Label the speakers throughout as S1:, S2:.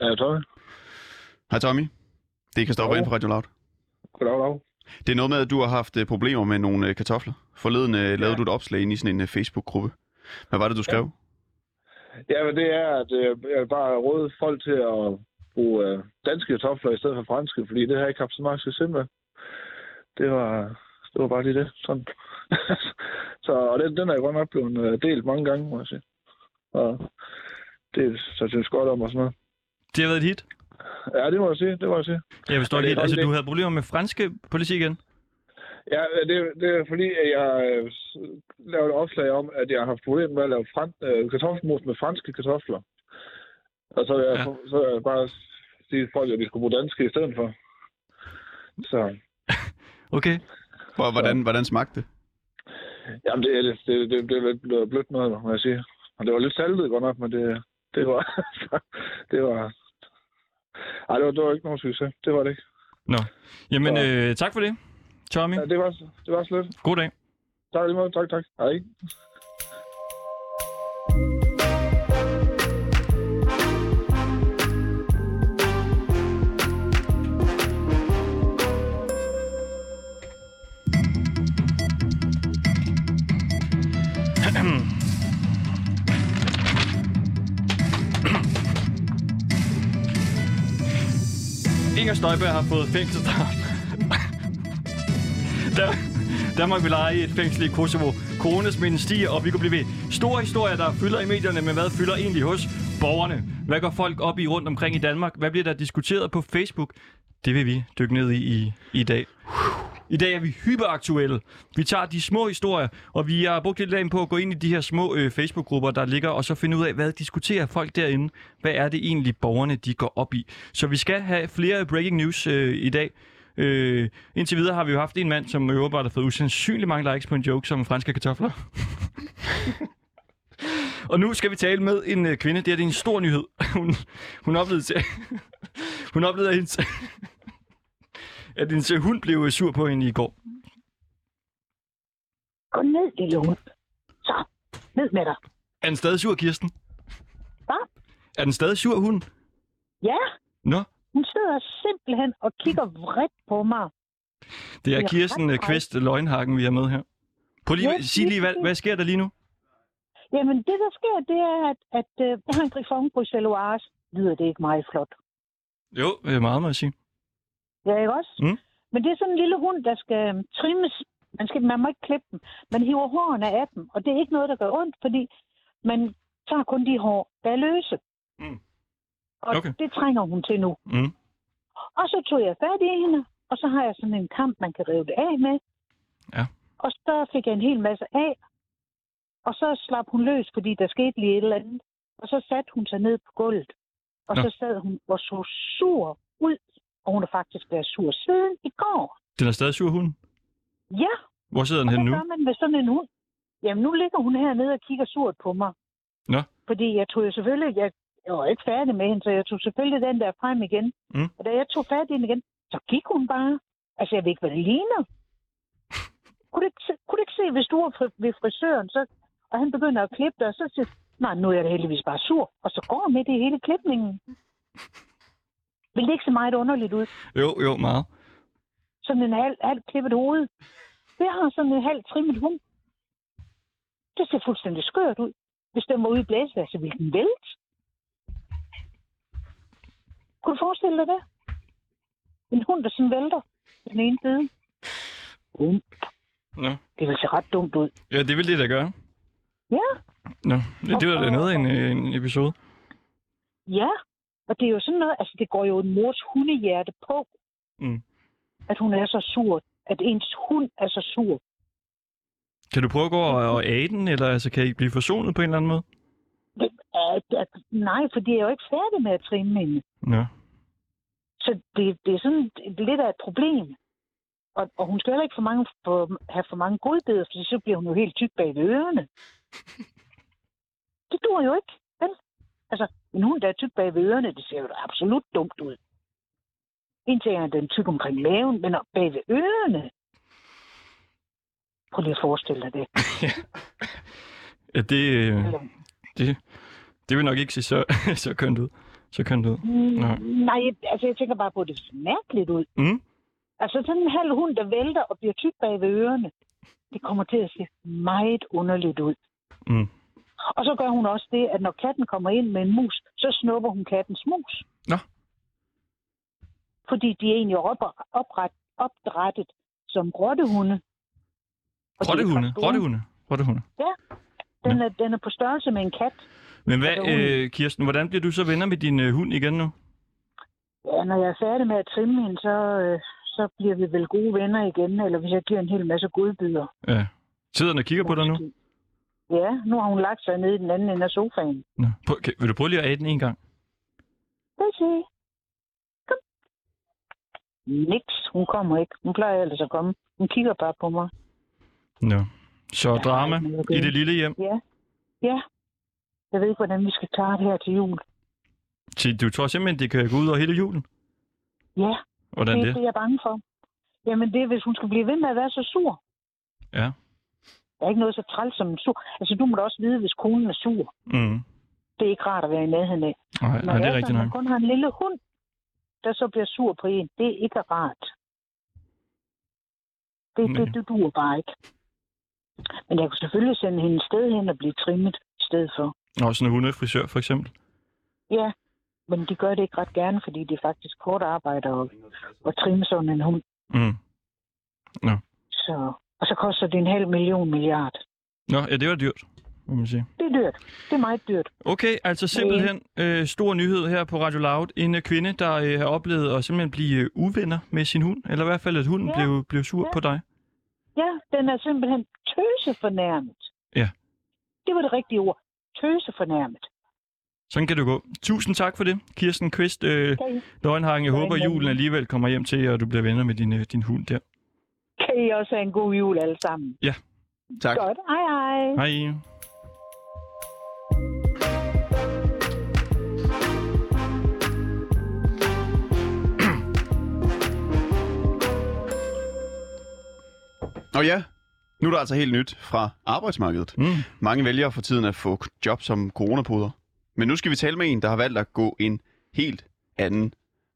S1: Hej, Tommy.
S2: Hej Tommy. Det er Kristoffer
S1: Hallo.
S2: ind fra Radio Loud.
S1: Goddag, dag.
S2: Det er noget med, at du har haft øh, problemer med nogle øh, kartofler. Forleden øh, lavede du et opslag inde i sådan en øh, Facebook-gruppe. Hvad var det, du skrev?
S1: Ja, men det er, at øh, jeg vil bare råde folk til at bruge øh, danske kartofler i stedet for franske, fordi det har jeg ikke haft så meget succes med. Det var, det var bare lige det. Sådan. så, og den, den er jeg godt nok blevet øh, delt mange gange, må jeg sige. Og det så synes jeg godt om og sådan noget.
S3: Det har været et hit.
S1: Ja, det må jeg sige, det må jeg sige.
S3: Jeg forstår
S1: Ja, det
S3: det helt.
S1: er
S3: Altså,
S1: godt, det.
S3: du havde problemer med franske politi igen.
S1: Ja, det, det er fordi, at jeg øh, s- lavede et opslag om, at jeg har haft problemer med at lave fran- øh, kartoffelmos med franske kartofler. Og så vil jeg,
S3: Ja.
S1: ja. så vil jeg bare sige til folk, at de skulle bruge danske i stedet for. Så
S3: Okay.
S2: Hvor- Hvordan, hvordan smagte det?
S1: jamen, det, er lidt- det, det, det er lidt blevet blødt noget, må jeg sige. Og det var lidt saltet godt nok, men det, det var... det var... Ej, det var, det var ikke nogen succes. Det var det ikke.
S3: Jamen,
S1: Så-
S3: øh, tak for det, Tommy.
S1: Ja, det var, det var slet.
S3: God dag.
S1: Tak lige meget. Tak, tak. Hej.
S3: Inger Støjberg har fået fængselsstraf. Der, Danmark vil lege i et fængsel i Kosovo. Coronasmitten stiger, og vi kunne blive ved. Store historier, der fylder i medierne, men hvad fylder egentlig hos borgerne? Hvad går folk op i rundt omkring i Danmark? Hvad bliver der diskuteret på Facebook? Det vil vi dykke ned i i, i dag. I dag er vi hyperaktuelle. Vi tager de små historier, og vi har brugt lidt lag på at gå ind i de her små øh, Facebook-grupper, der ligger, og så finde ud af, hvad diskuterer folk derinde? Hvad er det egentlig, borgerne de går op i? Så vi skal have flere breaking news øh, i dag. Øh, indtil videre har vi jo haft en mand, som jo åbenbart har fået usandsynlig mange likes på en joke som franske kartofler. og nu skal vi tale med en øh, kvinde. Det her det er en stor nyhed. hun, hun oplevede til... hun oplevede, at hendes, at hendes hund blev øh, sur på hende i går.
S4: Gå ned, lille hund. Så, ned med dig.
S3: Er den stadig sur, Kirsten?
S4: Hvad?
S3: Er den stadig sur, hun?
S4: Ja,
S3: Nå,
S4: hun sidder simpelthen og kigger vredt på mig.
S3: det er
S4: Ja,
S3: Kirsten øh,
S4: hej.
S3: Kvist Løgnhakken, vi har med her. Prøv
S4: Ja,
S3: lige, sig lige, hvad,
S4: lige
S3: hvad sker der lige nu?
S4: Jamen, det der sker, det er, at, at øh, jeg har en Griffon Bruxelloise. Lyder det ikke meget flot?
S3: Jo, øh, meget må jeg sige.
S4: Ja, ikke også?
S3: Mm.
S4: Men det er sådan en lille hund, der skal øhm, trimmes. Man, skal, man må ikke klippe dem. Man hiver hårene af dem, og det er ikke noget, der gør ondt, fordi man tager kun de hår, der er løse.
S3: Mm.
S4: Og
S3: Okay.
S4: det trænger hun til nu.
S3: Mm.
S4: Og så tog jeg fat i hende, og så har jeg sådan en kamp, man kan rive det af med.
S3: Ja.
S4: Og så fik jeg en hel masse af, og så slap hun løs, fordi der skete lige et eller andet. Og så satte hun sig ned på gulvet, og
S3: Nå.
S4: så sad hun og så sur ud og hun har faktisk været sur siden i går.
S3: Den er stadig sur, hun.
S4: Ja,
S3: Hvor sidder den
S4: og
S3: henne
S4: hvad
S3: nu?
S4: gør man med sådan en hund? Jamen, nu ligger hun hernede og kigger surt på mig.
S3: Nå.
S4: Fordi jeg tog jo selvfølgelig... Jeg, jeg var ikke færdig med hende, så jeg tog selvfølgelig den der frem igen.
S3: Mm.
S4: Og da jeg tog fat i hende igen, så gik hun bare. Altså, jeg ved ikke, hvad det ligner. kunne, du ikke, se- kunne du ikke se, hvis du var fri- ved frisøren, så, og han begynder at klippe dig, og så siger nej, nu er jeg da heldigvis bare sur. Og så går med det i hele klipningen. Vil det ikke se meget underligt ud?
S3: Jo, jo, meget.
S4: sådan en halv, halv klippet hoved. Det har sådan en halv trimmet hund. Det ser fuldstændig skørt ud. Hvis den var ude i blæsvær, så ville den vælte. Kunne du forestille dig det? En hund, der sådan vælter på den ene side. Uh,
S3: Nå.
S4: det ville se ret dumt ud.
S3: Ja, det vil det da gøre.
S4: Ja.
S3: Nå, ja, det var da noget af en, øh, en episode.
S4: Ja, og det er jo sådan noget, altså det går jo en mors hundehjerte på,
S3: Mm.
S4: at hun er så sur, at ens hund er så sur.
S3: Kan du prøve at gå og, og age den, eller altså, kan I blive forsonet på en eller anden måde?
S4: At, at, nej, for det er jo ikke færdig med at trimme hende.
S3: Nå.
S4: Så det, det er sådan lidt af et problem. Og, og hun skal heller ikke for mange, for, have for mange godbidder, for så bliver hun jo helt tyk bag ved ørerne. Det dur jo ikke, vel? Altså, en hund, der er tyk bag ved ørerne, det ser jo da absolut dumt ud. En ting er, at den er tyk omkring maven, men op bag ved ørerne. Prøv lige at forestille dig det.
S3: Ja, det, øh, det, det vil nok ikke se så, så kønt ud. så kønt ud. Nej.
S4: Mm, nej, altså jeg tænker bare på, at det ser mærkeligt ud.
S3: Mm.
S4: Altså sådan en halv hund, der vælter og bliver tyk bag ved ørerne, det kommer til at se meget underligt ud.
S3: Mm.
S4: Og så gør hun også det, at når katten kommer ind med en mus, så snupper hun kattens mus.
S3: Nå.
S4: Fordi de er egentlig op- opret, opdrettet som rottehunde. Og de er
S3: Rottehunde,
S4: ret store.
S3: rottehunde, rottehunde.
S4: Den er, den er på størrelse med en kat.
S3: Men hvad,
S4: Rottehunde.
S3: øh, Kirsten, hvordan bliver du så venner med din øh, hund igen nu?
S4: Ja, når jeg er færdig med at trimme hende, så, øh, så bliver vi vel gode venner igen, eller hvis jeg giver en hel masse godbyder.
S3: Ja. Sidder den og kigger på dig nu?
S4: måske. Ja, nu har hun lagt sig nede i den anden ende af sofaen.
S3: Nå. Prøv, kan, vil du prøve lige at æde den en gang?
S4: Daisy, kom. Niks, hun kommer ikke. Hun plejer ellers at komme. Hun kigger bare på mig.
S3: Nå. Så
S4: Jeg har
S3: drama
S4: ikke noget at
S3: i
S4: gøre.
S3: det lille hjem.
S4: Jeg ved ikke, hvordan vi skal klare det her til jul.
S3: Så Du tror simpelthen, det kan gå ud over hele julen?
S4: Ja,
S3: Hvordan
S4: det er
S3: det?
S4: det, jeg er bange for. Jamen det er, hvis hun skal blive ved med at være så sur.
S3: Ja.
S4: Der er ikke noget så træls som en sur. Altså du må da også vide, hvis konen er sur.
S3: Mm.
S4: Det er ikke rart at være i nærheden af.
S3: Nej, nej, det er rigtigt
S4: sådan,
S3: nok.
S4: man kun har en lille hund, der så bliver sur på en, det er ikke rart. Det,
S3: Nej.
S4: det, det duer bare ikke. Men jeg kunne selvfølgelig sende hende et sted hen og blive trimmet i stedet for.
S3: Og sådan en hundefrisør, for eksempel.
S4: Ja, men de gør det ikke ret gerne, fordi det er faktisk hårdt arbejde at, at trimme sådan en hund.
S3: Mm.
S4: Så, og så koster det en halv million milliard.
S3: Nå, ja, det var dyrt, må man sige.
S4: Det er dyrt. Det er meget dyrt.
S3: Okay, altså simpelthen øh, stor nyhed her på Radio Loud. En øh, kvinde, der øh, har oplevet at simpelthen blive øh, uvenner med sin hund. Eller i hvert fald, at hunden
S4: Ja.
S3: blev, blev sur
S4: Ja.
S3: på dig.
S4: Ja, den er simpelthen tøsefornærmet.
S3: Ja.
S4: Det var det rigtige ord. Tøsefornærmet.
S3: Sådan kan det gå. Tusind tak for det, Kirsten Kvist øh,
S4: Kan I,
S3: Løgnhang. Jeg
S4: Der er
S3: håber,
S4: ikke noget.
S3: julen alligevel kommer hjem til jer, og du bliver venner med din, øh, din hund der.
S4: kan I også have en god jul alle sammen?
S2: Tak.
S4: Godt. Hej hej.
S3: Hej.
S2: Og ja, nu er der altså helt nyt fra arbejdsmarkedet.
S3: Mm.
S2: Mange vælger for tiden at få job som coronapoder. Men nu skal vi tale med en, der har valgt at gå en helt anden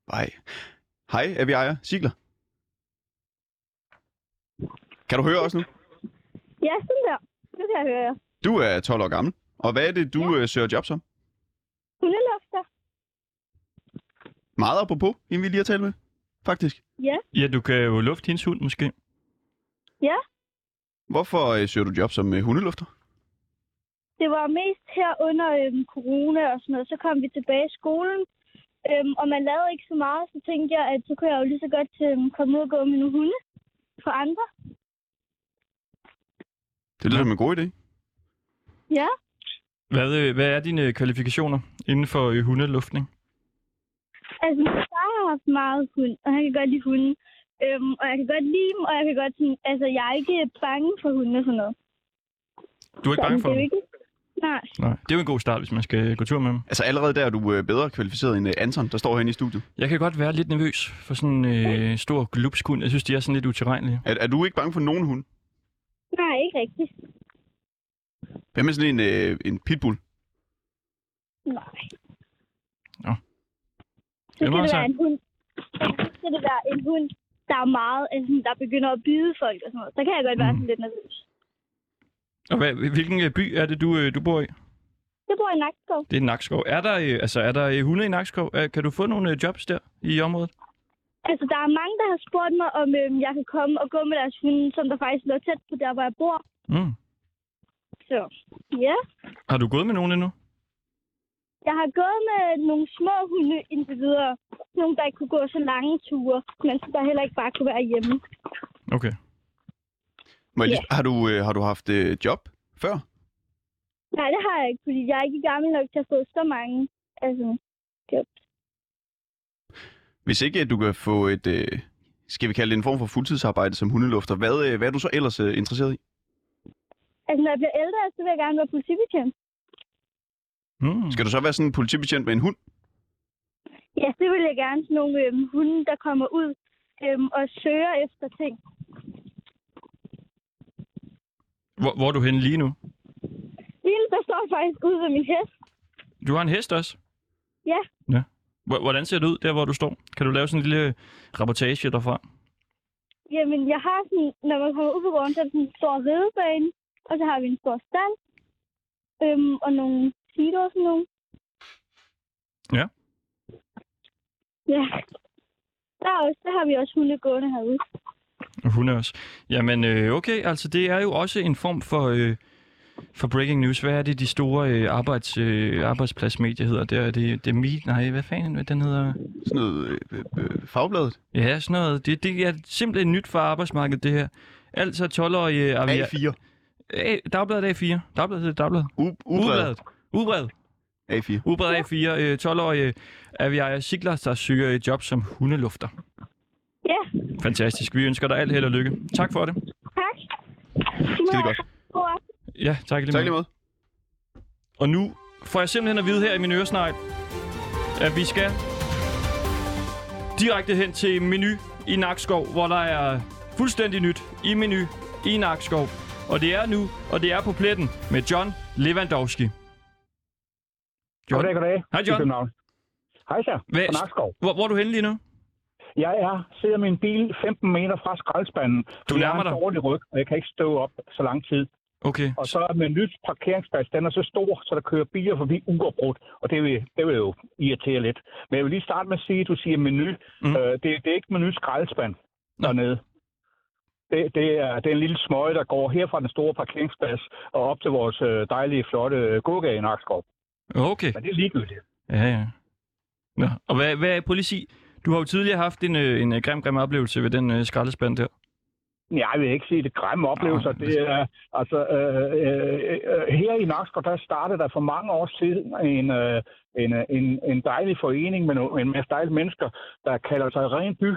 S2: vej. Hej, er vi ejer Sigler? Kan du høre os nu?
S5: Ja, sådan der. Det der hører jeg.
S2: Du er 12 år gammel. Og hvad er det, du ja. søger job som?
S5: Hundelufter.
S2: Meget apropos, inden vi lige har talt med. Faktisk.
S3: Ja, du kan jo lufte hendes hund måske.
S2: Hvorfor øh, søger du job som øh, hundelufter?
S5: Det var mest her under øhm, corona og sådan noget. Så kom vi tilbage i skolen, øhm, og man lavede ikke så meget. Så tænkte jeg, at så kunne jeg jo lige så godt øhm, komme ud og gå med nogle hunde for andre.
S2: Det lyder som en god idé.
S5: Ja,
S3: Hvad, øh, hvad er dine øh, kvalifikationer inden for øh, hundeluftning?
S5: altså min far har haft meget hund, og han kan godt lide hunde. Øhm, og jeg kan godt lide dem, og jeg kan godt sådan, altså jeg er ikke bange for hunde og sådan noget.
S3: Du er ikke bange for
S5: det er jo
S3: dem?
S5: ikke... Nej,
S3: Nej. Det er jo en god start, hvis man skal gå tur med dem.
S2: Altså allerede der er du øh, bedre kvalificeret end øh, Anton, der står herinde i studiet.
S3: Jeg kan godt være lidt nervøs for sådan en øh, stor glupskund. Jeg synes, de er sådan lidt utilregnelige.
S2: Er, er du ikke bange for nogen hund?
S5: nej, ikke rigtigt.
S2: Hvad med sådan en, øh, en pitbull?
S5: Nej.
S3: Nå.
S5: Så skal
S3: Jamen,
S5: det
S3: altså.
S5: være en hund. Ja, Så skal det være en hund, der er meget, altså, sådan, der begynder at byde folk og sådan noget. Så kan jeg godt være
S3: Mm.
S5: sådan lidt nervøs.
S3: Og hvad, hvilken øh, by er det, du, øh, du bor i?
S5: Jeg bor i Nakskov.
S3: Det er Nakskov. Er der, øh, altså, er der øh, hunde i Nakskov? Er- Kan du få nogle øh, jobs der i området?
S5: Altså, der er mange, der har spurgt mig, om øhm, jeg kan komme og gå med deres hunde, som der faktisk lå tæt på der, hvor jeg bor.
S3: Mm.
S5: Så ja,
S3: Har du gået med nogen endnu?
S5: jeg har gået med nogle små hunde indtil videre. Nogle, der ikke kunne gå så lange ture, men som der heller ikke bare kunne være hjemme.
S3: Okay.
S2: Må jeg lige, yeah. har, du, øh, har du haft øh, job før?
S5: Nej, det har jeg ikke, fordi jeg er ikke gammel nok til at få så mange. Altså,
S2: Hvis ikke øh, du kan få et, øh, skal vi kalde det en form for fuldtidsarbejde som hundelufter, hvad, øh, hvad er du så ellers øh, interesseret i?
S5: altså, når jeg bliver ældre, så vil jeg gerne være politibetjent.
S3: Mm.
S2: Skal du så være sådan en politibetjent med en hund?
S5: Ja, det vil jeg gerne. Sådan nogle øhm, hunde, der kommer ud øhm, og søger efter ting.
S3: Hvor, hvor er du henne lige nu?
S5: Lige nu, der står jeg faktisk ude ved min hest.
S3: Du har en hest også?
S5: Ja.
S3: ja. Hvor- Hvordan ser det ud, der hvor du står? Kan du lave sådan en lille øh, rapportage derfra?
S5: Jamen, jeg har sådan, når man kommer ud på gården, så er der sådan en stor ridebane, og så har vi en stor stald, øhm, og nogle sider og sådan nogle.
S3: Ja.
S5: Ja. Der, er også, der har vi også hunde gående herude.
S3: Hun er også. Jamen, øh, okay, altså det er jo også en form for, øh, for breaking news. Hvad er det, de store øh, arbejds, øh, arbejdspladsmedier hedder? Det er, det, det er Meet, nej, hvad fanden den hedder?
S2: Sådan noget øh, øh, øh, fagbladet.
S3: Ja, sådan noget. Det, det er simpelthen nyt for arbejdsmarkedet, det her. Altså 12-årige... er vi-
S2: A4.
S3: A, dagbladet A4. Dagbladet hedder Dagbladet.
S2: U- ubladet.
S3: Ubladet. Ubladet.
S2: A4.
S3: Ubred A4, øh, 12-årige Aviaja Sigler, der søger et job som hundelufter.
S5: Ja,
S3: Fantastisk. Vi ønsker dig alt held og lykke. Tak for det.
S5: tak.
S2: Skide godt.
S5: God aften.
S3: Ja, tak i lige
S2: Tak lige
S3: måde.
S2: måde.
S3: Og nu får jeg simpelthen at vide her i min øresnegl, at vi skal direkte hen til menu i Nakskov, hvor der er fuldstændig nyt i menu i Nakskov. Og det er nu, og det er på pletten med John Lewandowski. John,
S6: Goddag, goddag.
S3: Hej,
S6: I
S3: John.
S6: København. Hej så,
S3: Hvad-
S6: fra Nakskov.
S3: hvor, hvor er du henne lige nu?
S6: Jeg er, sidder med en bil 15 meter fra skraldespanden.
S3: Du
S6: jeg
S3: nærmer
S6: har
S3: dig.
S6: en dårlig ryg, og jeg kan ikke stå op så lang tid.
S3: Okay.
S6: Og så med en nyt parkeringsplads, den er så stor, så der kører biler forbi uafbrudt, og det vil, det vil jo irritere lidt. Men jeg vil lige starte med at sige, at du siger menu.
S3: Mm.
S6: Mm. Øh, det, det er ikke menu skraldespand
S3: Nå.
S6: dernede. Det, det, er, det er en lille smøge, der går her fra den store parkeringsplads og op til vores øh, dejlige, flotte øh, gågade i Nakskov.
S3: Okay.
S6: Men det er ligegyldigt.
S3: Ja, ja. Nå, og hvad, hvad prøv lige at sige, du har jo tidligere haft en, øh, en øh, grim, grim oplevelse ved den øh, skraldespand der.
S6: Nej, jeg vil ikke sige, det er grimme oplevelser.
S3: Nej,
S6: Det er, altså, øh, øh, øh, her i Nakskov, der startede der for mange år siden en, øh, en, øh, en, en dejlig forening med nogle en masse dejlige mennesker, der kalder sig Ren By.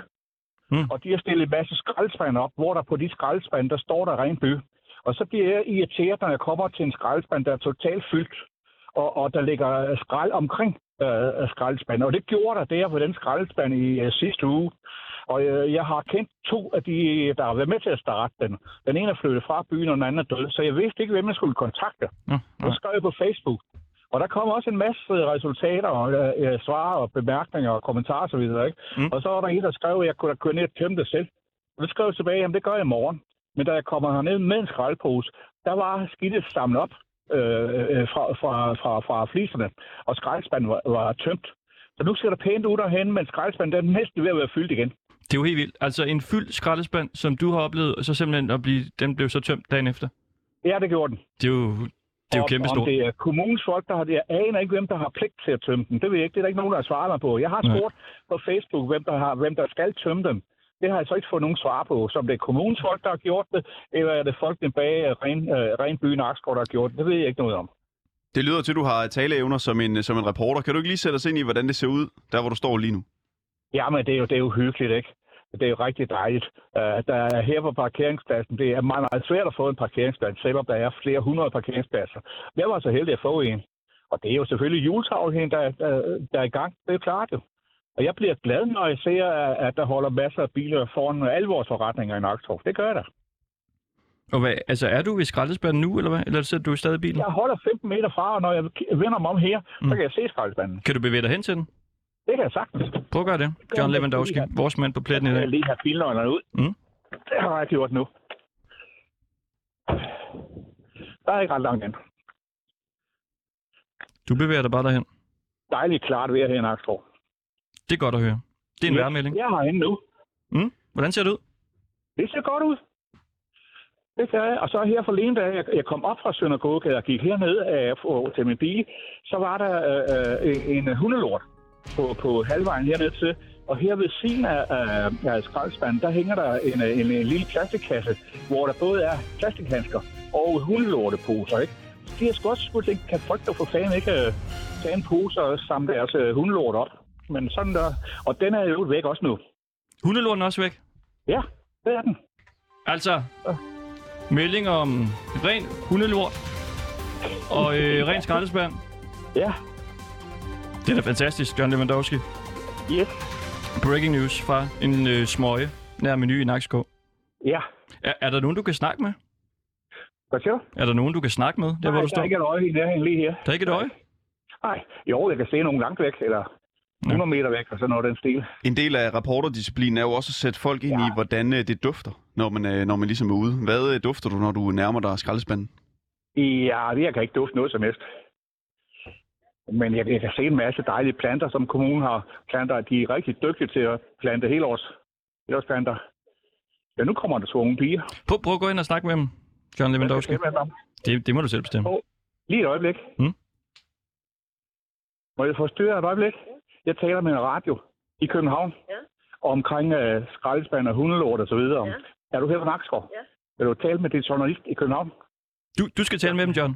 S3: Mm.
S6: Mm. Og de har stillet en masse skraldespande op, hvor der på de skraldespande, der står der Ren By. Og så bliver jeg irriteret, når jeg kommer til en skraldespand, der er totalt fyldt, og, og der ligger skrald omkring øh, skraldespanden. Og det gjorde der der på den skraldespand i øh, sidste uge. Og øh, jeg har kendt to af de, der har været med til at starte den. Den ene er flyttet fra byen, og den anden er død. Så jeg vidste ikke, hvem jeg skulle kontakte.
S3: Nå,
S6: Så
S3: nej.
S6: skrev jeg på Facebook. Og der kom også en masse resultater og øh, svar og bemærkninger og kommentarer osv. Ikke?
S3: Mm.
S6: Mm. Og så var der en, der skrev, at jeg kunne da køre ned og tømme det selv. Og det skrev jeg tilbage, at det gør jeg i morgen. Men da jeg kommer herned med en skraldpose, der var skidtet samlet op øh, øh, fra, fra, fra, fra fliserne, og skraldespanden var, var tømt. Så nu ser der pænt ud derhen, men skraldespanden den er næsten ved at være fyldt igen.
S3: Det er jo helt vildt. Altså en fyldt skraldespand, som du har oplevet, og så simpelthen at blive, den blev så tømt dagen efter.
S6: Ja, det gjorde den.
S3: Det er jo, det er jo
S6: Om- Om
S3: kæmpestort.
S6: det er kommunens folk, der har det, jeg aner ikke, hvem der har pligt til at tømme dem. Det ved jeg ikke. Det er der ikke nogen, der har svaret mig på. Jeg har
S3: Nej.
S6: spurgt på Facebook, hvem der, har, hvem der skal tømme dem. Det har jeg så ikke fået nogen svar på. Så om det er kommunens folk, der har gjort det, eller er det folkene bag øh, ren, øh, ren by Nakskov, der har gjort det. Det ved jeg ikke noget om.
S2: Det lyder til, at du har taleevner som en, øh, som en reporter. Kan du ikke lige sætte os ind i, hvordan det ser ud, der hvor du står lige nu?
S6: Jamen, det er jo, det er jo hyggeligt, ikke? Det er jo rigtig dejligt. Uh, der er her på parkeringspladsen, det er meget, meget svært at få en parkeringsplads, selvom der er flere hundrede parkeringspladser. Jeg var så heldig at få en. Og det er jo selvfølgelig juletavlen, der, der, der er i gang. Det er klart jo. Og jeg bliver glad, når jeg ser, at- at der holder masser af biler foran alle vores forretninger i Nakskov. Det gør jeg da.
S3: Og hvad, altså er du ved skraldespanden nu, eller hvad? Eller sidder du stadig i bilen?
S6: Jeg holder 15 meter fra, og når jeg k- vender mig om her,
S3: Mm.
S6: så kan jeg se skraldespanden.
S3: Kan du bevæge dig hen til den?
S6: Det kan jeg sagtens.
S3: Prøv at gøre det. John
S6: jeg
S3: Lewandowski,
S6: lige
S3: vores mand på pletten i
S6: Jeg
S3: dag.
S6: lige have bilnøglerne ud.
S3: Mm.
S6: Det har jeg gjort nu. Der er ikke ret langt igen.
S3: Du bevæger dig bare derhen.
S6: Dejligt klart vejr her i Nakskov.
S3: Det er godt at høre. Det er en
S6: Ja.
S3: værmelding.
S6: Jeg er herinde nu.
S3: Mm? Hvordan ser det ud?
S6: Det ser godt ud. Det gør jeg. Og så her forleden, da jeg, jeg kom op fra Søndergågade og gik herned øh, for- til min bil, så var der øh, øh, en hundelort på, på halvvejen hernede til. Og her ved siden af, af, af skraldespanden, der hænger der en, øh, en, en lille plastikkasse, hvor der både er plastikhandsker og hundelorteposer, ikke? De har sgu også skulle tænke, kan folk da for fanden ikke øh, tage en pose og samle deres øh, hundelort op? Men sådan der. Og den er jo væk også nu.
S3: Hundelorten er også væk.
S6: Ja, det er den.
S3: Altså, meldinger om ren hundelort og øh, ren skraldespand.
S6: Ja,
S3: Det er da fantastisk, John Lewandowski.
S6: yes.
S3: Breaking news fra en øh, smøge nær menu i Nakskov.
S6: Ja.
S3: Er, er der nogen, du kan snakke med?
S6: Hvad siger du?
S3: Er der nogen, du kan snakke med, der hvor du
S6: der
S3: står?
S6: er ikke et øje i nærheden lige her.
S3: Der er ikke et øje?
S6: Nej, jo, jeg kan se nogen langt væk, eller 100 meter væk, og sådan noget af den stil.
S2: En del af rapporterdisciplinen er jo også at sætte folk ind i, hvordan øh, det dufter, når man, øh, når man ligesom er ude. Hvad øh, dufter du, når du nærmer dig skraldespanden?
S6: Ja, jeg kan ikke dufte noget som helst. Men jeg, jeg kan se en masse dejlige planter, som kommunen har planter. De er rigtig dygtige til at plante helårs, helårsplanter. Ja, nu kommer der to unge piger.
S3: Prøv, prøv at gå ind og snakke med dem, John Lewandowski.
S6: Hvad skal jeg med dem?
S3: Det, det må du selv bestemme.
S6: Lige et øjeblik.
S3: Mm.
S6: Må jeg forstyrre et øjeblik? Jeg taler med en radio i København
S7: Ja.
S6: omkring øh, skraldespand og hundelort og så videre.
S7: Ja.
S6: Er du her på Nakskov?
S7: Ja.
S6: Vil du tale med din journalist i København?
S3: Du, du skal tale med dem, John.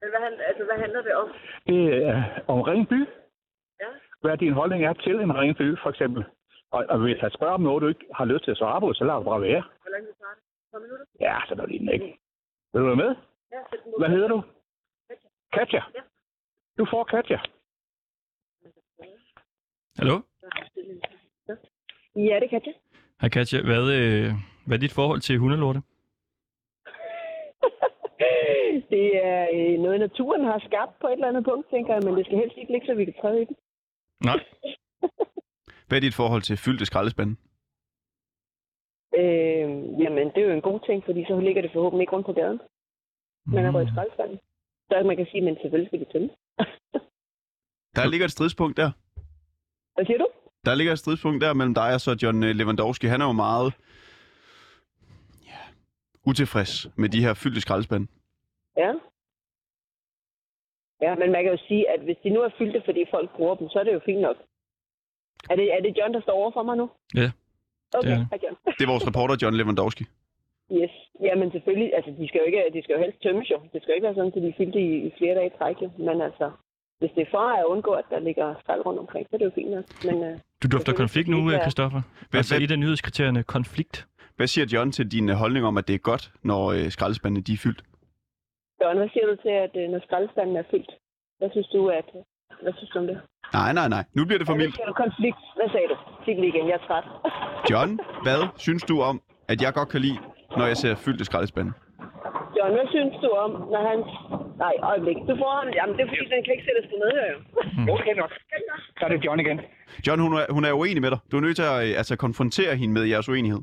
S7: Men hvad, han- altså, hvad handler det om?
S6: Det er øh, om ren by.
S7: Ja.
S6: Hvad din holdning er til en ren by, for eksempel. Og, og hvis jeg spørger om noget, du ikke har lyst til at svare på, så lad det bare være.
S7: Hvor langt vi starter? 12 minutter?
S6: Ja, så er det lige ikke. Vil du være med?
S7: Ja, sæt den mod.
S6: Hvad hedder du? Katja. Du får Katja.
S3: Hallo?
S7: Ja, det kan jeg.
S3: Hej Katja, hvad, øh, hvad er dit forhold til hundelorte?
S7: Det er øh, noget, naturen har skabt på et eller andet punkt, tænker jeg, men det skal helst ikke ligge, så vi kan træde i det.
S3: Nej.
S2: Hvad er dit forhold til fyldte skraldespande?
S7: Øh, jamen, det er jo en god ting, fordi så ligger det forhåbentlig ikke rundt på gaden. Man har røget skraldespanden. Så man kan sige, men selvfølgelig skal de tømme.
S2: Der ligger et stridspunkt der.
S7: Hvad siger du?
S2: Der ligger et stridspunkt der mellem dig og så John øh, Lewandowski. Han er jo meget ja, utilfreds med de her fyldte skraldespande.
S7: Ja. Ja, men man kan jo sige, at hvis de nu er fyldte, fordi folk bruger dem, så er det jo fint nok. Er det, er det John, der står over for mig nu?
S3: Ja,
S7: Okay,
S3: det er det.
S7: hej John.
S2: Det er vores reporter, John Lewandowski.
S7: Yes. Jamen selvfølgelig, altså de skal jo, ikke, de skal jo helst tømmes jo. Det skal jo ikke være sådan, at de er fyldte i, i flere dage i træk jo. Men altså, hvis det er for at undgå, at der ligger skrald rundt omkring, så er det jo fint nok. Men øh,
S3: Du dufter konflikt nu, øh, Christoffer.
S2: Hvad-
S3: Altså
S2: hvad-
S3: et af nyhedskriterierne, konflikt.
S2: Hvad siger John til din øh, holdning om, at det er godt, når øh, skraldespandene de er fyldt?
S7: John, hvad siger du til, at øh, når skraldespanden er fyldt? Hvad synes du, at, hvad synes du om det?
S2: Nej, nej, nej. Nu bliver det for
S7: Hvad
S2: mildt.
S7: siger du konflikt? Hvad sagde du? Sig det lige igen, jeg er træt.
S2: John, hvad synes du om, at jeg godt kan lide, når jeg ser fyldte skraldespande?
S7: John, hvad synes du om, når han... Nej, øjeblik. Du får ham... Jamen, det er fordi, den kan ikke sættes ned, jo.
S6: Okay nok. Så er det John igen.
S2: John, hun er, hun er uenig med dig. Du er nødt til at øh, altså, konfrontere hende med jeres uenighed.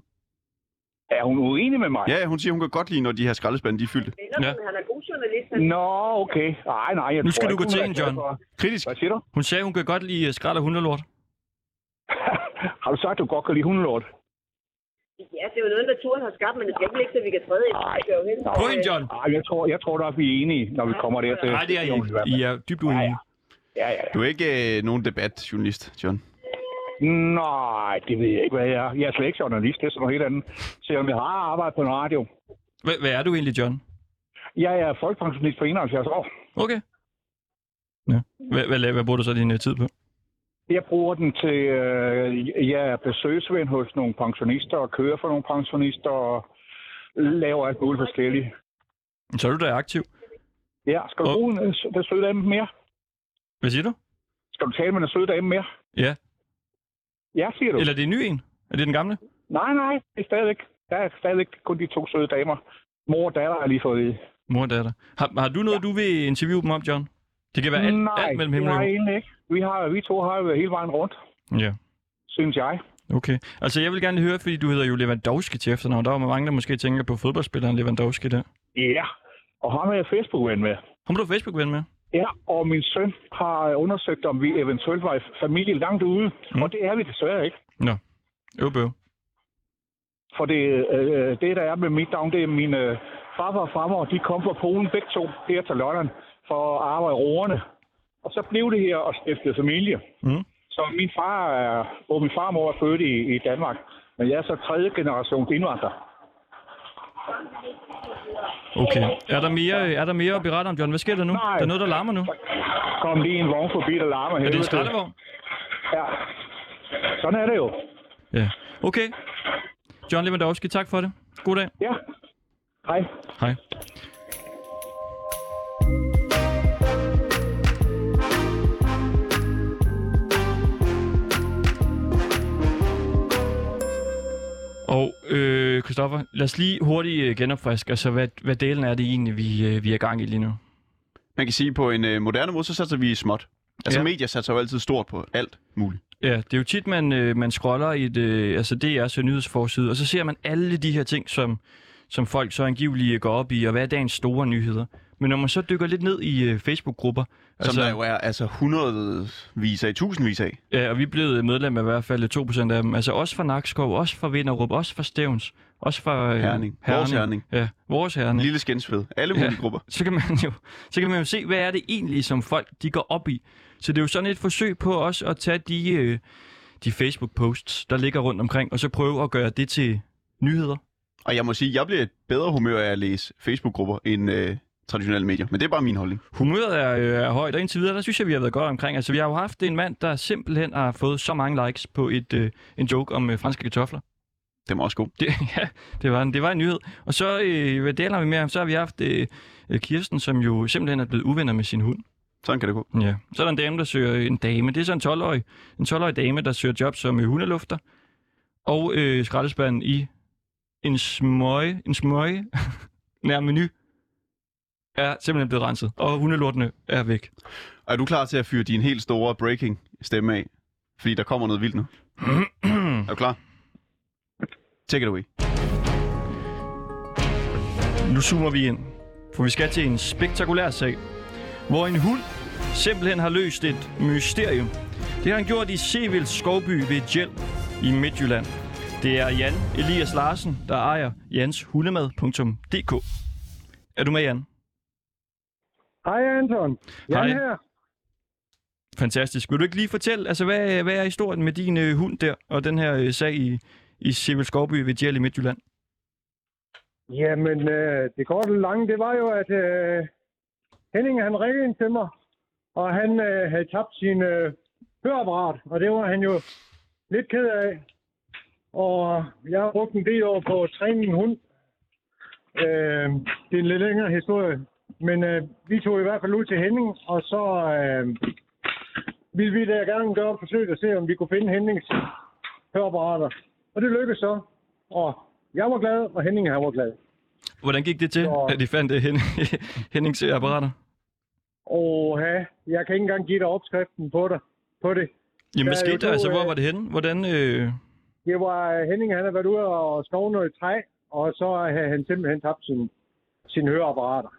S6: Er hun uenig med mig?
S2: Ja, ja, hun siger, hun kan godt lide, når de her skraldespande de er fyldte.
S3: Ja.
S7: Han er god journalist.
S6: Nå, okay. Nej, nej. Jeg
S3: Nu skal
S6: tror ikke,
S3: du gå
S6: hun
S3: til
S6: er
S3: hende,
S6: glad
S3: John.
S6: for-
S2: Kritisk.
S6: Hvad siger du?
S3: Hun sagde, hun kan godt lide øh, skrald og hundelort.
S6: har du sagt, at du godt kan lide hundelort?
S7: Ja, det er jo noget, naturen har skabt, men det skal ikke ligge, så vi kan træde i.
S6: Nej.
S7: Det er jo helt-
S3: Point, John!
S6: Nej, jeg tror, jeg tror nok, vi er enige, når vi kommer dertil.
S3: Nej, det er I
S6: Jo, i hvert
S3: ikke.
S6: fald.
S3: I er dybt
S6: Ja, ja.
S3: uenige.
S6: Ja, ja.
S2: Du er ikke øh, nogen debatjournalist, John.
S6: Nej, det ved jeg ikke, hvad jeg er. Jeg er slet ikke journalist, det er sådan noget helt andet. Selvom jeg har arbejdet på en radio.
S3: Hvad, hvad er du egentlig, John?
S6: Jeg er folkepensionist på 71 år.
S3: Okay. Ja. Hvad, hvad, la- hvad bruger du så din øh, tid på?
S6: Jeg bruger den til, øh, jeg er besøgsven hos nogle pensionister og kører for nogle pensionister og laver alt muligt forskelligt.
S3: Så er du da aktiv.
S6: Ja, skal du
S3: Og-
S6: bruge en, øh, den søde dame mere?
S3: Hvad siger du?
S6: Skal du tale med den søde dame mere?
S3: Ja.
S6: Ja, siger du.
S3: Eller er det en ny en? Er det den gamle?
S6: Nej, nej, det er stadigvæk. Der er stadigvæk kun de to søde damer. Mor og datter har lige fået
S3: Mor og datter. Har, har du noget, du vil interviewe dem om, John? Det kan være alt,
S6: nej,
S3: alt mellem
S6: det
S3: himmel
S6: har
S3: og
S6: jeg
S3: jord.
S6: egentlig ikke. Vi, har, vi to har jo været hele vejen rundt,
S3: Ja,
S6: synes jeg.
S3: okay. Altså, jeg vil gerne lige høre, fordi du hedder jo Lewandowski til efternavn. Der er jo mange, der måske tænker på fodboldspilleren Lewandowski der.
S6: Ja, og ham er jeg Facebook-ven med.
S3: Hun blev Facebook-ven med.
S6: Ja, og min søn har undersøgt, om vi eventuelt var i familie langt ude,
S3: Mm.
S6: mm. og det er vi desværre ikke.
S3: Øv, bøv.
S6: For det, øh, det der er med mit navn, det er mine øh, farfar og farmor, de kom fra Polen begge to her til London for at arbejde i roerne. Og så blev det her og stiftede familie.
S3: Mm.
S6: Så min far, er- hvor min farmor er født i, i Danmark, men jeg er så tredje generations indvandrer.
S3: Okay. Er der mere, er der mere at berette om, John? Hvad sker der nu?
S6: Nej.
S3: Der er noget, der larmer nu.
S6: Kom lige en vogn forbi, der larmer
S3: Er det en
S6: helvede til.
S3: skraldevogn?
S6: Ja. Sådan er det jo.
S3: Ja. Okay. John Lewandowski, tak for det. God dag.
S6: Ja. Hej.
S3: Hej. Og øh, Christoffer, lad os lige hurtigt øh, genopfriske, altså hvad, hvad delen er det egentlig, vi, øh, vi er gang i lige nu?
S2: Man kan sige, at på en øh, moderne måde, så satser vi småt. Altså,
S3: Ja.
S2: ja. medier satser jo altid stort på alt muligt.
S3: Ja, det er jo tit, man, øh, man scroller i et, øh, altså DR's nyhedsforside, og så ser man alle de her ting, som, som folk så angiveligt øh, går op i, og hvad er dagens store nyheder. Men når man så dykker lidt ned i øh, Facebook-grupper,
S2: Som altså, der jo er altså hundredvis af, tusindvis af.
S3: ja, og vi er blevet medlem af i hvert fald 2% af dem, altså også fra Nakskov, også fra Vinderup, også fra Stævns, også fra øh,
S2: Herning. Vores Herning.
S3: Ja, vores Herning.
S2: En lille skændsved. Alle mulige
S3: Ja.
S2: ja. grupper.
S3: så kan man jo så kan man jo se, hvad er det egentlig, som folk de går op i. Så det er jo sådan et forsøg på også at tage de, øh, de Facebook-posts, der ligger rundt omkring, og så prøve at gøre det til nyheder.
S2: Og jeg må sige, jeg bliver et bedre humør af at læse Facebook-grupper end øh, traditionelle medier. Men det er bare min holdning.
S3: Humøret er, øh, er højt, og indtil videre, der synes jeg, vi har været godt omkring. Altså, vi har jo haft en mand, der simpelthen har fået så mange likes på et, øh, en joke om øh, franske kartofler.
S2: Det er også god.
S3: Det, ja, det var, en, det var en nyhed. Og så, øh, hvad deler vi med ham? Så har vi haft øh, øh, Kirsten, som jo simpelthen er blevet uvenner med sin hund.
S2: Sådan kan det gå.
S3: Ja. Så er der en dame, der søger en dame. Det er så en 12-årig, en 12-årig dame, der søger job som øh, hundelufter og øh, skraldespanden i en smøge, en smøge nær menu er simpelthen blevet renset, og hundelortene er væk.
S2: Og er du klar til at fyre din helt store breaking stemme af? Fordi der kommer noget vildt nu. er du klar? Take it away.
S3: Nu zoomer vi ind, for vi skal til en spektakulær sag, hvor en hund simpelthen har løst et mysterium. Det har han gjort i Sevils skovby ved Gjell i Midtjylland. Det er Jan Elias Larsen, der ejer janshundemad.dk. Er du med, Jan?
S8: Hej Anton. Jan
S3: Hej.
S8: her.
S3: Fantastisk. Vil du ikke lige fortælle, altså, hvad, hvad er historien med din øh, hund der, og den her øh, sag i, i Sevils skovby ved Gjell i Midtjylland?
S8: Jamen, øh, det korte og lange, det var jo, at øh, Henning han ringede ind til mig, og han øh, havde tabt sin øh, høreapparat, og det var han jo lidt ked af. Og jeg har brugt en del år på at træne min hund. Øh, det er en lidt længere historie, men øh, vi tog i hvert fald ud til Henning, og så øh, ville vi da gerne gøre et forsøg og se, om vi kunne finde Hennings høreapparater. Og det lykkedes så, og jeg var glad, og Henning han var glad.
S3: Hvordan gik det til,
S8: Nå.
S3: at de fandt øh, Hen- Hennings øh, apparater?
S8: Åh, jeg kan ikke engang give dig opskriften på det. På det.
S3: Jamen, hvad
S8: Der er jo
S3: skete der?
S8: to,
S3: Altså, hvor
S8: øh,
S3: var det henne? Hvordan, øh,
S8: det var øh, Henning, han har været ude og skove noget træ, og så havde han simpelthen tabt sin, sin høreapparater.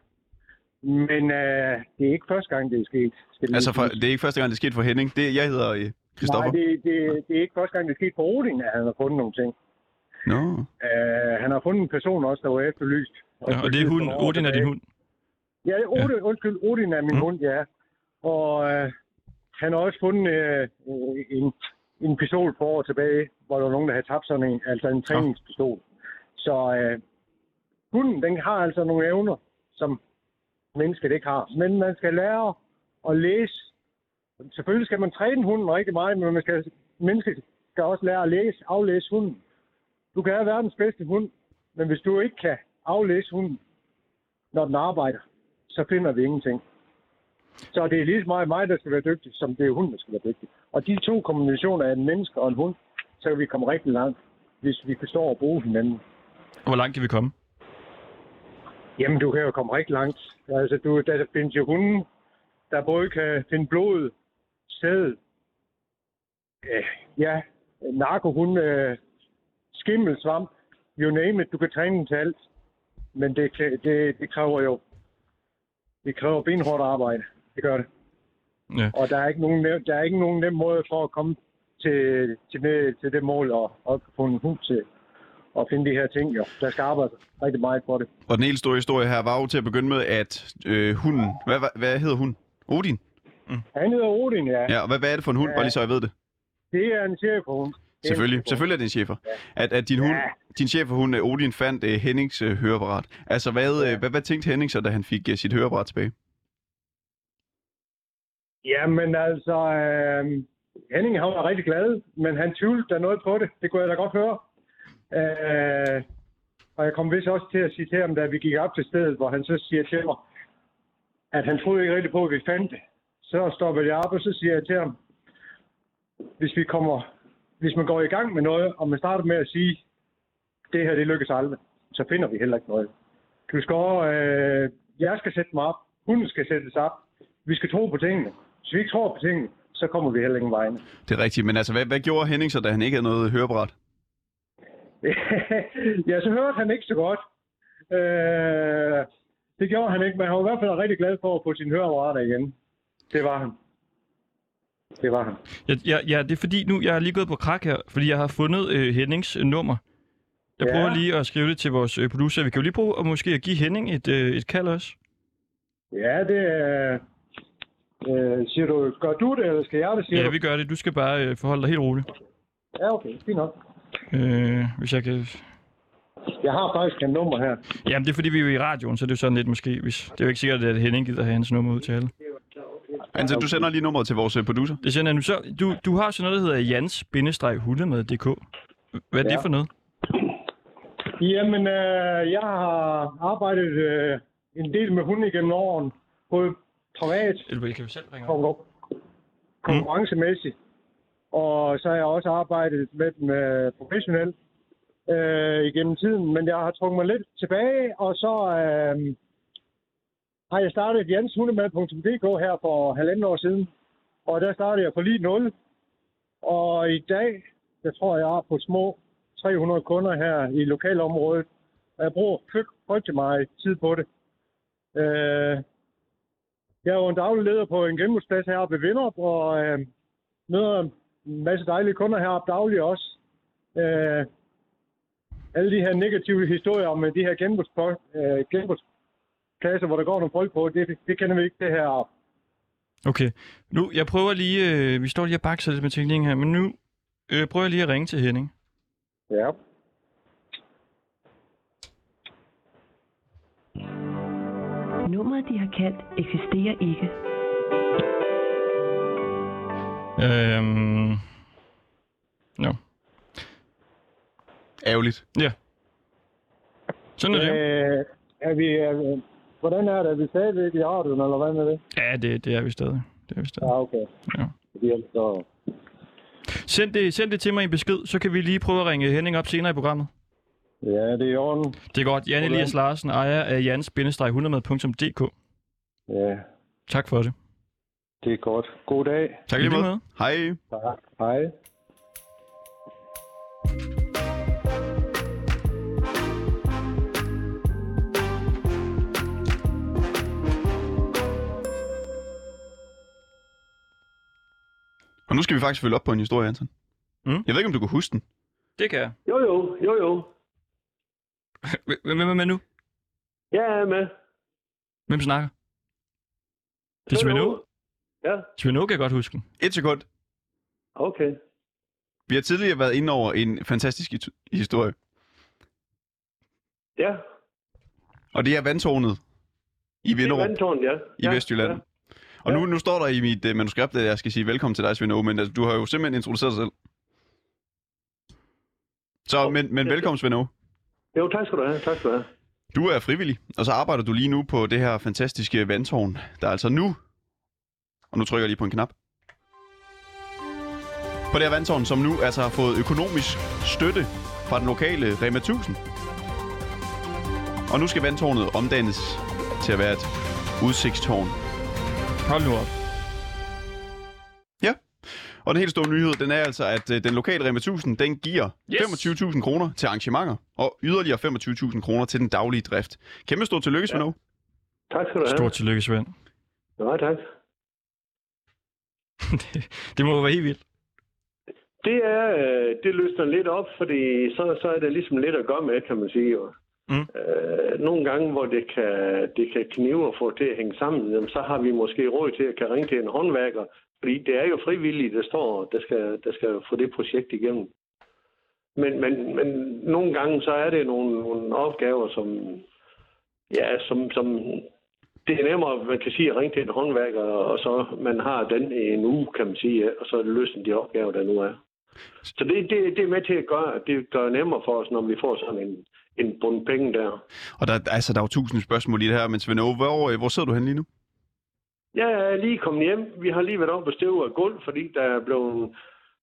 S8: Men øh, det er ikke første gang, det er sket. Skal
S2: Altså, for, det er ikke første gang, det skete for Henning. Det, jeg hedder øh,
S8: Nej,
S2: Christoffer.
S8: det, det, det, er ikke første gang, det er sket på Odin, at han har fundet nogle ting.
S2: Nå.
S8: Øh, han har fundet en person også, der var efterlyst.
S3: Ja, og det er hunden. Odin er din hund.
S8: Ja, Odin, ja. undskyld, Odin er min
S3: Mm.
S8: mm. hund, ja. Og øh, han har også fundet øh, en, en pistol for år tilbage, hvor der var nogen, der havde tabt sådan en, altså en træningspistol. Så øh, hunden, den har altså nogle evner, som mennesket ikke har. Men man skal lære at læse. Selvfølgelig skal man træne hunden rigtig meget, men man skal, mennesket skal også lære at læse, aflæse hunden. Du kan have verdens bedste hund, men hvis du ikke kan aflæse hunden, når den arbejder, så finder vi ingenting. Så det er lige så meget mig, der skal være dygtig, som det er hunden, der skal være dygtig. Og de to kombinationer af en menneske og en hund, så kan vi komme rigtig langt, hvis vi forstår at bruge hinanden.
S3: Hvor langt kan vi komme?
S8: Jamen, du kan jo komme rigtig langt. Altså, du, der findes jo hunden, der både kan finde blod, sæd, øh, ja, narkohunde, øh, skimmelsvamp, you name it, du kan træne den til alt. Men det, kræ- det, det kræver jo, det kræver benhårdt arbejde. Det gør det.
S3: Ja.
S8: Og der er ikke nogen, nem- der er ikke nogen nem måde for at komme til, til, det, til det mål og, og få en hund til at finde de her ting. Jo. Der skal arbejdes rigtig meget for det.
S2: Og den helt store historie her var jo til at begynde med, at øh, hunden... Hvad, hvad, hvad hedder hun? Odin?
S8: Han hedder Odin, ja.
S2: Ja, og hvad, hvad er det for en hund? Bare lige så jeg ved det.
S8: Det er en chefhund. Det er en
S2: Selvfølgelig.
S8: chefhund.
S2: Selvfølgelig er det en chefer. At, at din, hund, din chefer, hun, øh, Odin, fandt øh, Hennings øh, høreapparat. Altså, hvad, øh, hvad, hvad tænkte Henning så, da han fik øh, sit høreapparat tilbage?
S8: Jamen altså, øh, Henning han var rigtig glad, men han tvivlede da noget på det. Det kunne jeg da godt høre. Øh, og jeg kom vist også til at citere ham, da vi gik op til stedet, hvor han så siger til mig, at han troede ikke rigtig på, at vi fandt det. Så stopper jeg op, og så siger jeg til ham, hvis vi kommer, hvis man går i gang med noget, og man starter med at sige, det her det lykkes aldrig, så finder vi heller ikke noget. Du skal, over, øh, jeg skal sætte mig op, hunden skal sættes op, vi skal tro på tingene. Hvis vi ikke tror på tingene, så kommer vi heller ingen vejen.
S2: Det er rigtigt, men altså, hvad, hvad gjorde Henning så, da han ikke havde noget hørebræt?
S8: ja, så hørte han ikke så godt. Øh, det gjorde han ikke, men han var i hvert fald rigtig glad for at få sin høreapparater igen. Det var han. Det var han.
S3: Ja, ja, ja, det er fordi nu, jeg er lige gået på krak her, fordi jeg har fundet øh, Hennings øh, nummer. Jeg
S8: Ja.
S3: prøver lige at skrive det til vores øh, producer. Vi kan jo lige prøve at måske at give Henning et, øh, et kald også.
S8: Ja, det er... Øh, siger du, gør du det, eller skal jeg det, siger
S3: Ja,
S8: du?
S3: vi gør det. Du skal bare øh, forholde dig helt roligt.
S8: Ja, okay, fint nok.
S3: Øh, hvis jeg kan...
S8: Jeg har faktisk en nummer her.
S3: Jamen, det er fordi, vi er jo i radioen, så det er jo sådan lidt måske... Hvis... Det er jo ikke sikkert, at Henning gider have hans nummer ud til alle.
S2: Altså, du sender lige nummeret til vores øh, producer.
S3: Det sender jeg nu så... Du, du har sådan noget, der hedder jans-hundemad.dk. Hvad er ja. det
S8: Ja.
S3: for noget?
S8: Jamen, øh, jeg har arbejdet øh, en del med hunde gennem årene. Både privat
S3: Eller kan vi selv ringe op?
S8: konkur- konkurrencemæssigt. Og så har jeg også arbejdet med dem øh, professionelt øh, igennem tiden. Men jeg har trukket mig lidt tilbage, og så øh, har jeg startet janshundemad.dk her for halvanden år siden. Og der startede jeg på lige 0. Og i dag, der tror jeg, jeg er på små 300 kunder her i lokalområdet. Og jeg bruger frygt- frygtelig meget tid på det. Øh, jeg er jo en daglig leder på en genbrugsplads heroppe ved Vinderup, og øh, møder en masse dejlige kunder heroppe dagligt også. Øh, alle de her negative historier om øh, de her genbrugspo- øh, genbrugspladser, hvor der går nogle folk på, det, det kender vi ikke det her.
S3: Okay. Nu, jeg prøver lige... Øh, vi står lige og bakser lidt med teknikken her, men nu øh, prøver jeg lige at ringe til Henning.
S8: Ja.
S9: Nummeret, de har kaldt, eksisterer ikke.
S3: Øhm... Nå.
S2: Ærgerligt.
S3: Sådan er det. jo.
S8: Øh, er vi, øh, hvordan er det? Er vi stadigvæk i radioen, eller hvad med det?
S3: Ja, det, det er vi stadig. Det er vi stadig.
S8: Ja, okay.
S3: Ja.
S8: Fordi ellers så...
S3: Send, det, send det til mig i en besked, så kan vi lige prøve at ringe Henning op senere i programmet.
S8: Ja, det er i orden.
S3: Det er godt. Jan Elias Larsen, ejer af jans-100mad.dk.
S8: Ja,
S3: Tak for det.
S8: det er godt. God dag.
S2: Tak
S3: I
S2: lige
S3: lige
S2: måde. Hej.
S8: Tak. Hej.
S2: Og nu skal vi faktisk følge op på en historie, Anton.
S3: Mm.
S2: Jeg ved ikke, om du kan huske den.
S3: Det kan jeg.
S10: Jo, jo, jo, jo.
S3: Hvem- Hvem er med nu?
S10: Jeg er med.
S3: Hvem snakker? Det er
S10: Hallo.
S3: Svend
S10: Ja,
S3: Svend kan jeg godt huske.
S2: Et sekund.
S10: okay.
S2: Vi har tidligere været inde over en fantastisk his- historie.
S10: Ja,
S2: Og det er vandtårnet i
S10: det er
S2: Vinderup
S10: vandtårnet, ja.
S2: i
S10: ja,
S2: Vestjylland.
S10: Ja.
S2: Og nu, nu står der i mit uh, manuskript, at jeg skal sige velkommen til dig, Svend Aage, men altså, du har jo simpelthen introduceret dig selv. Så, men, men velkommen, Svend Aage.
S10: Jo, tak skal du have, tak skal du have.
S2: Du er frivillig, og så arbejder du lige nu på det her fantastiske vandtårn, der er altså nu... Og nu trykker jeg lige på en knap. På det her vandtårn, som nu altså har fået økonomisk støtte fra den lokale Rema 1000. Og nu skal vandtårnet omdannes til at være et udsigtstårn.
S3: Hold nu op.
S2: Og den helt store nyhed, den er altså, at øh, den lokale Rema 1000, den giver
S3: Yes.
S2: yes. 25.000 kroner til arrangementer, og yderligere 25.000 kroner til den daglige drift. Kæmpe stort tillykke, Svend Aage.
S10: Tak skal du have.
S3: Stort tillykke, Svend.
S10: Nej, tak.
S3: det må jo være helt vildt.
S10: Det er, øh, det løsner lidt op, fordi så, så er det ligesom lidt at gøre med, kan man sige. Jo.
S3: Mm.
S10: Øh, nogle gange, hvor det kan, det kan knive og få til at hænge sammen, jamen, så har vi måske råd til at kan ringe til en håndværker, fordi det er jo frivillige, der står, der skal, der skal få det projekt igennem. Men, men, men nogle gange, så er det nogle, nogle opgaver, som, ja, som, som det er nemmere, man kan sige, at ringe til en håndværker, og så man har den i en uge, kan man sige, og så løser de opgaver, der nu er. Så det, det, det er med til at gøre, at det gør nemmere for os, når vi får sådan en, en bund penge der.
S2: Og der, altså, der er jo tusind spørgsmål i det her, men Svend Aage, hvor, øh, hvor sidder du henne lige nu?
S10: Jeg er lige kommet hjem. Vi har lige været oppe og støve af gulv, fordi der er blevet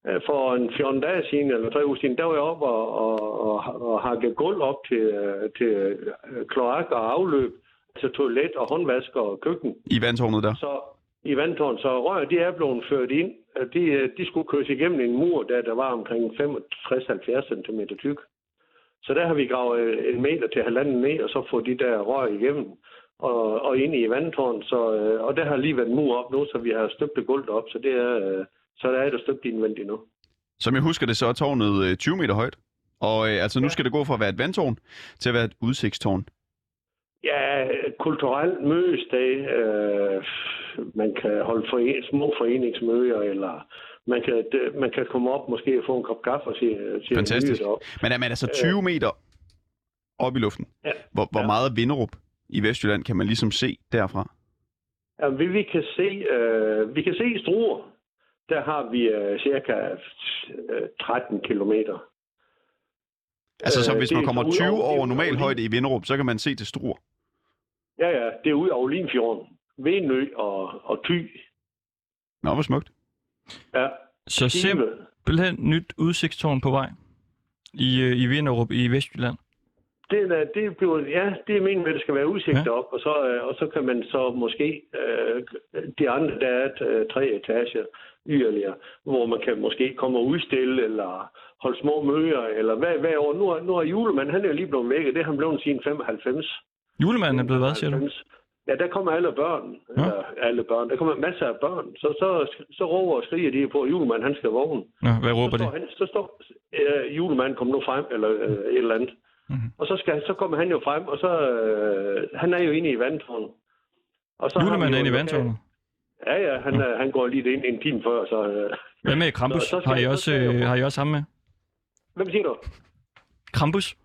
S10: øh, for en 14 dage siden, eller 3 uger siden, der var jeg oppe og, og, og, og hakke gulv op til, øh, til øh, kloak og afløb, til toilet og altså håndvask og køkken.
S2: I vandtårnet der?
S10: Så i vandtårn, så rør de er blevet ført ind. De, øh, de skulle køres igennem en mur, der, der var omkring 65-70 cm tyk. Så der har vi gravet øh, en meter til halvanden ned, og så fået de der rør igennem og, og ind i vandtårn. Så, øh, og der har lige været en mur op nu, så vi har støbt det gulvet op, så, det er, øh, så der er et støbt indvendigt nu.
S2: Som jeg husker det, så er tårnet øh, 20 meter højt. Og øh, altså, nu skal det gå fra at være et vandtårn til at være et udsigtstårn.
S10: Ja, et kulturelt mødesdag. Øh, man kan holde forene, små foreningsmøder, eller man kan, det- man kan komme op måske og få en kop kaffe og se, se
S2: Fantastisk.
S10: nyheder op.
S2: Men er man altså 20 meter op i luften?
S10: Ja.
S2: Hvor, hvor meget af Vinderup i Vestjylland kan man ligesom se derfra?
S10: Ja, vi, vi, kan se, øh, vi kan se i Struer, der har vi øh, cirka øh, 13 kilometer.
S2: Altså, så
S10: Øh,
S2: hvis
S10: det
S2: man
S10: er
S2: kommer
S10: så
S2: 20
S10: udover- det
S2: over
S10: er
S2: normal
S10: udover
S2: højde i Vinderup, så kan man se til Struer.
S10: Ja, ja, det er ude over Limfjorden, Venø og, og Thy.
S2: Nå, hvor smukt.
S10: Ja,
S3: Så simpelthen nyt udsigtstårn på vej i, øh, i Vinderup i Vestjylland.
S10: det, er, det, bliver, ja, det er meningen, at det skal være udsigt ja. op, og så, øh, og så kan man så måske, øh, de andre, der er øh, tre etager yderligere, hvor man kan måske komme og udstille, eller holde små møder, eller hvad, hvad år. Nu er, nu er julemanden, han er jo lige blevet væk, og det er han blevet siden 95.
S3: Julemanden er blevet hvad, siger du?
S10: Ja, der kommer alle børn, eller alle børn, der kommer masser af børn, så, så, så råber og skriger de på, at julemanden, han skal vågne.
S3: Nå, hvad råber de?
S10: Så står, han, så står øh, julemanden kom nu frem, eller øh, et eller andet.
S3: Mhm.
S10: Mm-hmm. Og så, skal, så kommer han jo frem, og så... Øh, han er jo inde i vandtårnet. Og så har vi
S3: Julemanden
S10: jo
S3: er inde i
S10: lokal-
S3: vandtårnet.
S10: Ja, ja, han, øh, han går lige ind en time før, så... Øh,
S3: Hvad med Krampus?
S10: Så- så skal-
S3: Har I
S10: så
S3: også,
S10: skal jeg
S3: øh,
S10: jo-
S3: har I også ham med?
S10: hvem siger du?
S3: Krampus?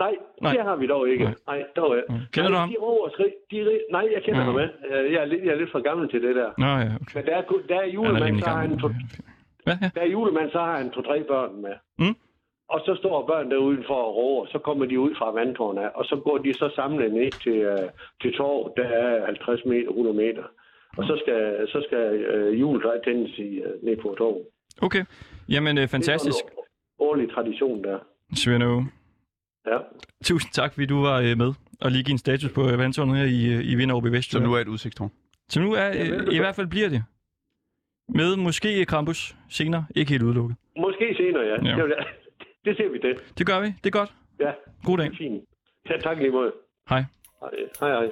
S10: Nej,
S3: Nej.
S10: nej, det har vi dog ikke. Nej, nej dog ikke.
S3: Kender
S10: nej,
S3: du ham?
S10: De råber og skriger- de, ri- nej, jeg kender
S3: Nå.
S10: ham ikke. Øh, Jeg er, lidt, jeg er lidt for gammel til det der.
S3: Nå ja, okay.
S10: Men der er, kun- der er
S3: Han er
S10: julemand,
S3: rimelig
S10: så har
S3: gammel.
S10: han to,
S3: Hvad? Ja.
S10: der er julemand, så har han to-tre børn med.
S3: Mm.
S10: Og så står børn der udenfor og råber, så kommer de ud fra vandtårnet, af, og så går de så samlet ned til, øh, til torv, der er 50 meter, 100 meter. Og så skal, så skal øh, julet der tændes i, øh, ned på torvet.
S3: Okay. Jamen, øh, fantastisk,
S10: Det er sådan en årlig tradition der.
S3: Svend
S10: Ja.
S3: Tusind tak, fordi du var øh, med og lige give en status på øh, vandtårnet her i, øh, i Vinderup i
S2: Som
S3: Vestjylland.
S2: nu er et udsigtstårn.
S3: Som nu er, øh,
S10: velbekomme.
S3: i hvert fald bliver det. Med måske Krampus senere, ikke helt udelukket.
S10: Måske senere, ja.
S3: Ja.
S10: ja. Det, det ser vi det.
S3: Det gør vi, det er godt.
S10: Ja,
S3: God dag.
S10: det er fint. Ja, tak lige måde.
S3: Hej.
S10: Hej, hej. hej.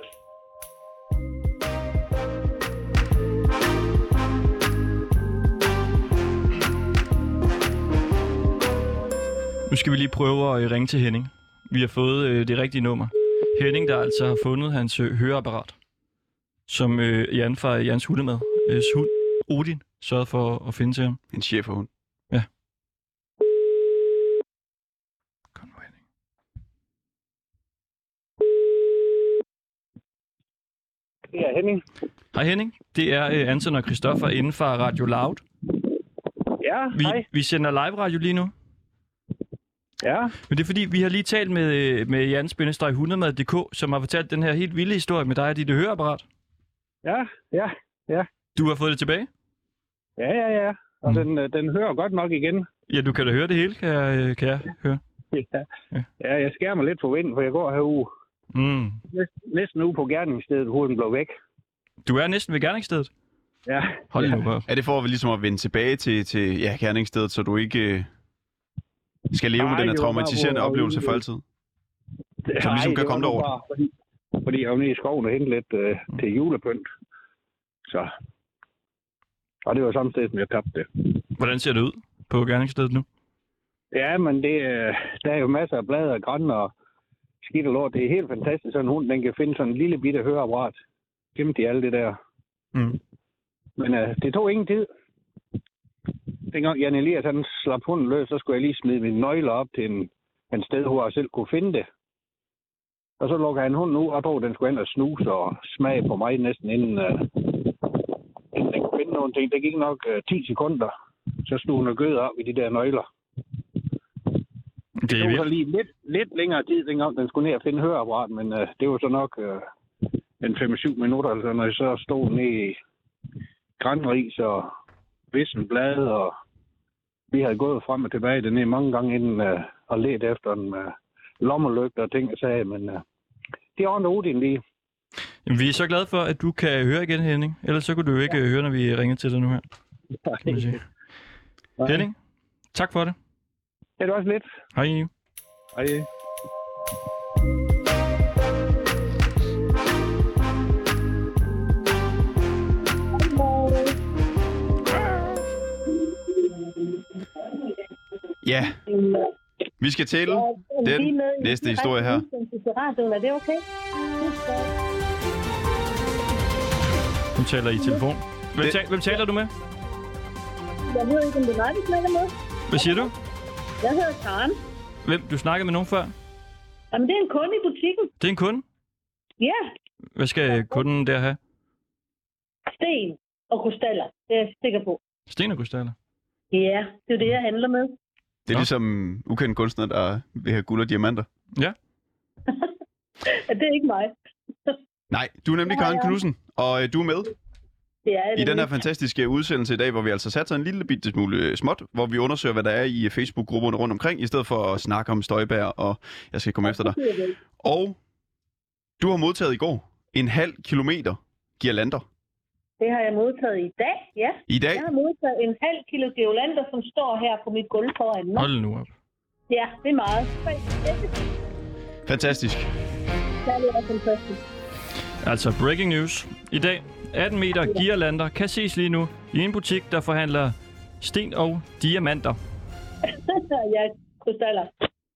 S3: Nu skal vi lige prøve at øh, ringe til Henning. Vi har fået øh, det rigtige nummer. Henning, der altså har fundet hans øh, høreapparat, som øh, Jan fra Jans hundemad, øh, hund, Odin, sørgede for at finde til ham.
S2: En chef og hun.
S3: Kom nu, Henning.
S11: Det er Henning.
S3: Hej Henning, det er øh, Anton og Christoffer inden for Radio Loud.
S11: Ja,
S3: Vi,
S11: hej.
S3: vi sender live radio lige nu.
S11: Ja,
S3: Men det er fordi, vi har lige talt med, øh, med Jan Spindestøj 100 som har fortalt den her helt vilde historie med dig og dit høreapparat.
S11: ja, ja,
S3: Du har fået det tilbage?
S11: ja, ja, ja. Og
S3: Mm.
S11: mm. den, øh, den hører godt nok igen.
S3: Ja, du kan da høre det hele, kan jeg, øh, kan jeg høre.
S11: Ja.
S3: Ja.
S11: ja, jeg skærer mig lidt på vinden, for jeg går herude.
S3: Mm.
S11: Næsten- Næsten ude på gerningsstedet, huden blev væk.
S3: Du er næsten ved gerningsstedet.
S11: Ja,
S3: Hold ja. nu op.
S2: Er det for at vi ligesom at vende tilbage til, til ja, kerningsstedet, så du ikke øh, skal leve
S11: Nej,
S2: med den her
S11: det var bare,
S2: traumatiserende
S11: hvor-
S2: oplevelse for
S11: hvor-
S2: altid? Så ligesom kan
S11: det
S2: komme
S11: var nu
S2: derover. Mm.
S11: bare, Fordi, fordi jeg var nede i skoven og hente lidt øh, til julepynt. Så. Og det var samtidig, som jeg tabte det.
S3: Hvordan ser det ud på gerningsstedet nu?
S11: Ja, men det, øh, der er jo masser af blade og grønne og skidt og lort. Det er helt fantastisk, sådan en hund, den kan finde sådan en lille bitte høreapparat. Gemt i alt det der.
S3: Mm.
S11: Men øh, det tog ingen tid. Dengang Jan Elias han slap hunden løs, så skulle jeg lige smide mine nøgler op til en, en sted, hvor jeg selv kunne finde det. Og så lukker han hunden ud, og på den skulle hen og snuse og smage på mig næsten inden, øh, inden den kunne finde nogle ting. Det gik nok øh, 10 sekunder. Så stod hun og gød op i de der nøgler.
S3: Det
S11: Det
S3: er
S11: tog så
S3: vildt.
S11: lige lidt, lidt længere tid, dengang den skulle ned og finde høreapparat, men øh, det var så nok øh, en 5-7 minutter, altså, når jeg så stod ned i grænris og vissen blade, og vi havde gået frem og tilbage dernede mange gange inden øh, og let efter en øh, lommelygte og ting og sager, men øh, det ordnede Odin lige.
S3: Jamen, vi er så glade for, at du kan høre igen, Henning. Ellers så kunne du jo ikke ja. høre, når vi ringer til dig nu her. Kan man sige. Henning, tak for det.
S6: Ja, det var også lidt.
S3: Hej.
S6: Hej.
S2: Ja, vi skal til den næste historie her.
S12: Er det okay?
S3: Hun taler i telefon. Hvem,
S12: Det-
S3: ta- hvem taler du med?
S12: Jeg ved ikke, om det er mig, vi snakker med.
S3: Hvad siger du?
S12: Jeg hedder Karen.
S3: Hvem du snakkede med nogen før?
S12: Jamen, det er en kunde i butikken.
S3: Det er en kunde.
S12: Ja,
S3: Hvad skal kunden der have?
S12: sten og krystaller. Det er jeg sikker på.
S3: Sten og krystaller.
S12: Ja, det er jo det, jeg handler med.
S2: Det er ligesom ukendt kunstner, der vil have guld og diamanter.
S3: Ja.
S12: Ja, det er ikke mig.
S2: Nej, du er nemlig Karen Knudsen, og øh, du er med
S12: Det er jeg
S2: i den her
S12: nemlig.
S2: fantastiske udsendelse i dag, hvor vi altså satser en lille bitte smule øh, småt, hvor vi undersøger, hvad der er i øh, Facebook-grupperne rundt omkring, i stedet for at snakke om Støjbær, og jeg skal komme efter dig. Og du har modtaget i går en halv kilometer girlander.
S12: Det har jeg modtaget i dag, ja.
S2: I dag?
S12: Jeg har modtaget en halv kilo geolander, som står her på mit gulv foran mig.
S2: Hold nu op.
S12: Ja, det er meget.
S2: Fantastisk.
S12: Det er også fantastisk.
S3: Altså breaking news. I dag, 18 meter girlander kan ses lige nu i en butik, der forhandler sten og diamanter.
S12: ja, krystaller.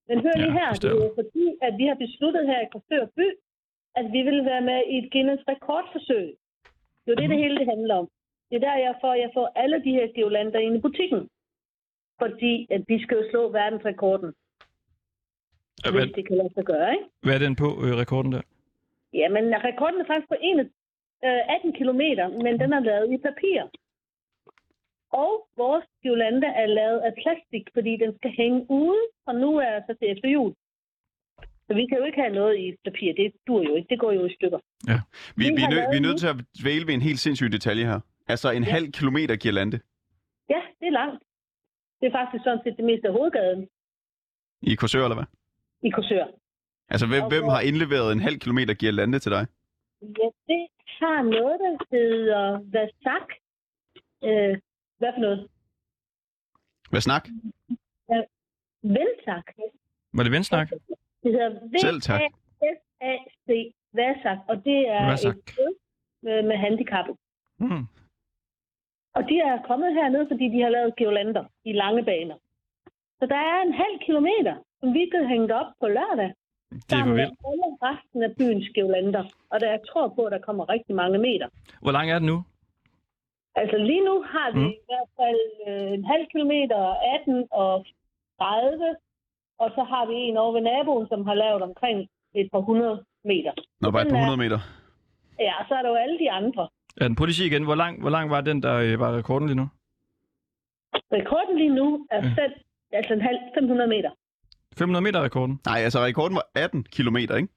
S12: Men hør lige her, det er jo fordi, at vi har besluttet her i Korsør By, at vi vil være med i et Guinness rekordforsøg. Det er jo det,
S2: Mhm.
S12: det hele det handler om. Det er der, jeg får, jeg får alle de her geolander ind i butikken. Fordi at vi skal jo slå verdensrekorden,
S3: Ja, Hvad,
S12: hvis det kan lade sig gøre, ikke?
S3: hvad er den på, øh, rekorden der?
S12: Jamen, rekorden er faktisk på 21, øh, 18 km, men den er lavet i papir. Og vores Jolanda er lavet af plastik, fordi den skal hænge ude, og nu er så til efter jul. Så vi kan jo ikke have noget i papir. Det dur jo ikke. Det går jo i stykker.
S2: Ja. Vi,
S12: Vi
S2: vi, er
S12: har
S2: nø-
S12: lavet
S2: vi er
S12: en
S2: nødt til at dvæle ved en helt sindssyg detalje her. Altså en halv kilometer girlande
S12: Ja, det er langt. Det er faktisk sådan set det meste af hovedgaden
S2: i Korsør, eller hvad?
S12: i Korsør.
S2: Altså, hvem, hvem har indleveret en halv kilometer girlande til dig?
S12: Ja, det har noget, der hedder Vasak. Øh, hvad for noget?
S2: Hvad snak?
S12: Ja, Veltak.
S3: Var det vensnak?
S12: Det hedder
S3: Selv tak.
S12: V-A-S-A-C, Vasak, og det er
S3: Vasak.
S12: et sted med, med handicappet.
S3: Hmm.
S12: Og de er kommet herned, fordi de har lavet geolander i lange baner. Så der er en halv kilometer, som vi kan hænge op på lørdag.
S3: Det er for vildt.
S12: Alle resten af byens geolander. Og der jeg tror på, at der kommer rigtig mange meter.
S3: Hvor lang er den nu?
S12: Altså lige nu har vi
S3: Mm.
S12: mm. i hvert fald øh, en halv kilometer, og 18 og 30. Og så har vi en over ved naboen, som har lavet omkring et par hundrede meter.
S2: Nå, bare et par
S12: Den er-
S2: hundrede meter.
S12: Ja, og så er der jo alle de andre.
S3: Er den politi igen? Hvor lang, hvor lang var den, der øh, var rekorden lige nu?
S12: Rekorden lige nu er
S2: Mm.
S12: fem, altså en halv 500 meter.
S3: 500 meter rekorden?
S2: Nej, altså rekorden var 18 kilometer, ikke?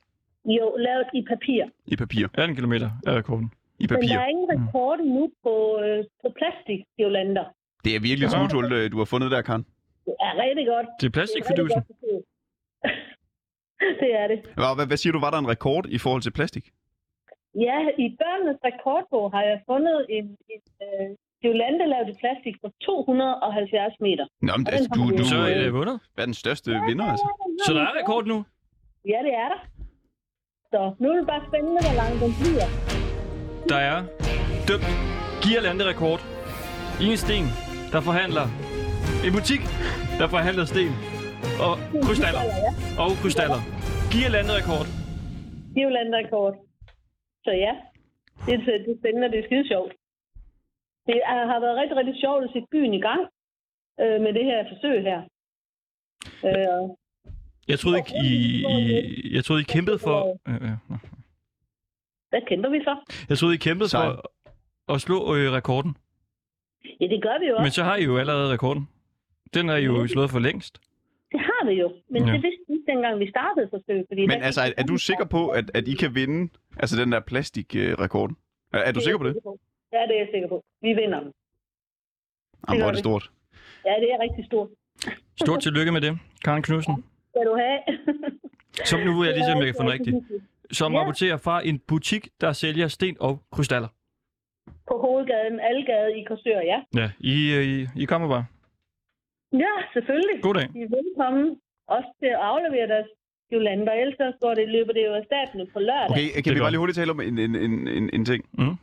S12: Jo, lavet i papir.
S2: I papir.
S3: 18 kilometer er rekorden.
S2: I
S12: Men
S2: papir. Mm.
S12: der er ingen rekord nu på, øh, på plastik, Jolanda.
S2: Det er virkelig ja. du har fundet der, Karen.
S12: Det er rigtig godt.
S2: Det er plastikfidusen.
S12: Det er rigtig godt forsøg. det er det.
S2: Hvad, hvad, hvad siger du, var der en rekord i forhold til plastik?
S12: Ja, i børnenes rekordbog har jeg fundet en, en øh, Jolanda lavet i plastik på 270 meter.
S2: Nå, men
S12: Og
S2: altså,
S12: den
S2: du,
S12: har vi
S2: du
S12: jo-
S2: øh, Hvad er den største vinder, altså?
S12: Så der er rekord
S3: nu?
S12: Ja, det er der. Så nu er det bare spændende, hvor lang den bliver.
S3: Der er dømt girlanderekord i en sten, der forhandler en butik, der forhandler sten og krystaller. Og krystaller. Girlanderekord.
S12: Jolanda rekord. Så ja, det er, det er spændende, og det er skide sjovt. Det er, har været rigtig, rigtig sjovt at sætte byen i gang øh, med det her forsøg her. Øh,
S3: Jeg troede ikke, I, I, jeg troede, I kæmpede for... Øh, øh, nå.
S12: hvad kæmper vi for?
S3: Jeg troede, I kæmpede for at slå øh, rekorden.
S12: Ja, det gør vi jo
S3: Men
S12: også.
S3: så har I jo allerede rekorden. Den er I jo slået for længst.
S12: Det har vi jo. Men
S2: Ja.
S12: ja. det vidste vi ikke, dengang vi startede forsøget. Fordi
S2: Men altså, er, er du sikker på, at, at I kan vinde altså den der plastikrekorden? Er, er du sikker på det?
S12: Ja, det er jeg sikker på. Vi vinder den.
S2: Jamen, hvor er det stort.
S12: Ja, det er rigtig stort.
S3: Stort tillykke med det, Karen Knudsen.
S12: Skal du have?
S3: Som nu vil jeg lige se, om jeg kan få den rigtigt. som ja. rapporterer fra en butik, der sælger sten og krystaller.
S12: På hovedgaden, Algade i Korsør, ja.
S3: Ja, I, øh, I, I kommer bare.
S12: Ja, selvfølgelig.
S3: Goddag.
S12: I er velkommen også til at aflevere deres julander, ellers så går det, løber det jo af staten på lørdag.
S2: Okay, kan vi bare lige hurtigt tale om en, en, en, en, en ting?
S3: Mm.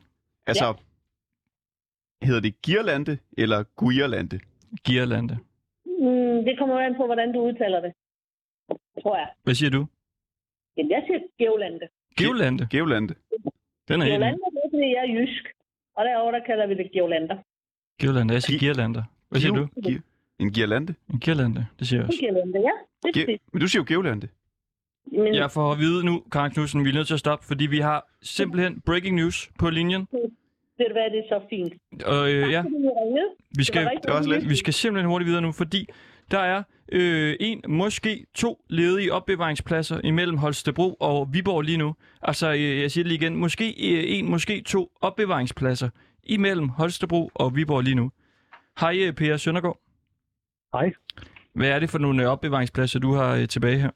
S2: Altså, hedder det girlande eller guirlande?
S3: Girlande.
S12: Mm, det kommer jo an på, hvordan du udtaler det, tror jeg.
S3: Hvad siger du?
S12: Jamen, jeg siger Geolande.
S3: Givlande.
S2: Givlande.
S3: Den er helt ny.
S12: Geolande, det er, fordi jeg er jysk. Og derovre, der kalder vi det Geolander.
S3: Girlander. Jeg siger girlander. Hvad siger du?
S2: En girlande?
S3: En girlande, det siger jeg også.
S12: Geolande, ja. Det er præcis.
S2: Ge- Men du siger jo givlande.
S12: Men
S3: Jeg får at vide nu, Karen Knudsen, vi er nødt til at stoppe, fordi vi har simpelthen breaking news på linjen.
S12: ved du hvad, det er så fint.
S3: Og øh, ja,
S12: Fordi jeg ringede.
S3: vi skal,
S12: var rigtig Det var også lidt.
S3: vi skal simpelthen hurtigt videre nu, fordi der er øh, en, måske to ledige opbevaringspladser imellem Holstebro og Viborg lige nu. Altså, øh, jeg siger det lige igen, måske øh, en, måske to opbevaringspladser imellem Holstebro og Viborg lige nu. Hej, øh, Per Søndergaard.
S13: Hej.
S3: Hvad er det for nogle øh, opbevaringspladser, du har øh, tilbage her?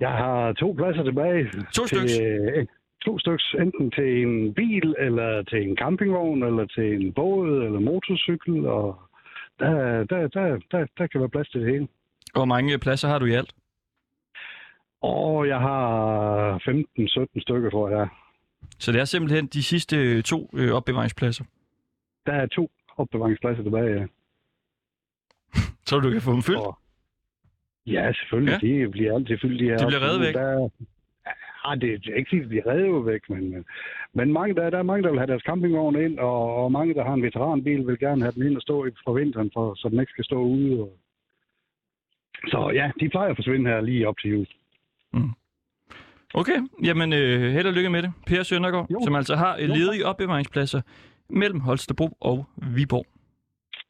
S13: Jeg har to pladser tilbage.
S3: To styks?
S13: Til, øh, to styks, enten til en bil, eller til en campingvogn, eller til en båd, eller motorcykel, og der, der, der, der, der kan være plads til det hele.
S3: Hvor mange øh, pladser har du i alt?
S13: Og jeg har 15-17 stykker, tror jeg.
S3: Så det er simpelthen de sidste øh, to øh, opbevaringspladser.
S13: Der er to opbevaringspladser tilbage, ja.
S3: Så du kan få dem fyldt?
S13: Ja, selvfølgelig. Ja. De bliver altid fyldt, de her.
S3: De bliver revet væk?
S13: Der... Ja, Ah, det er ikke sige, at de er revet væk, men, men, men mange, der, der er mange, der vil have deres campingvogn ind, og, og mange, der har en veteranbil, vil gerne have den ind og stå i fra vinteren, for, så den ikke skal stå ude. Og... Så ja, de plejer at forsvinde her lige op til jul.
S3: Okay, jamen øh, held og lykke med det. Per Søndergaard, jo. som altså har øh, ledige opbevaringspladser mellem Holstebro og Viborg.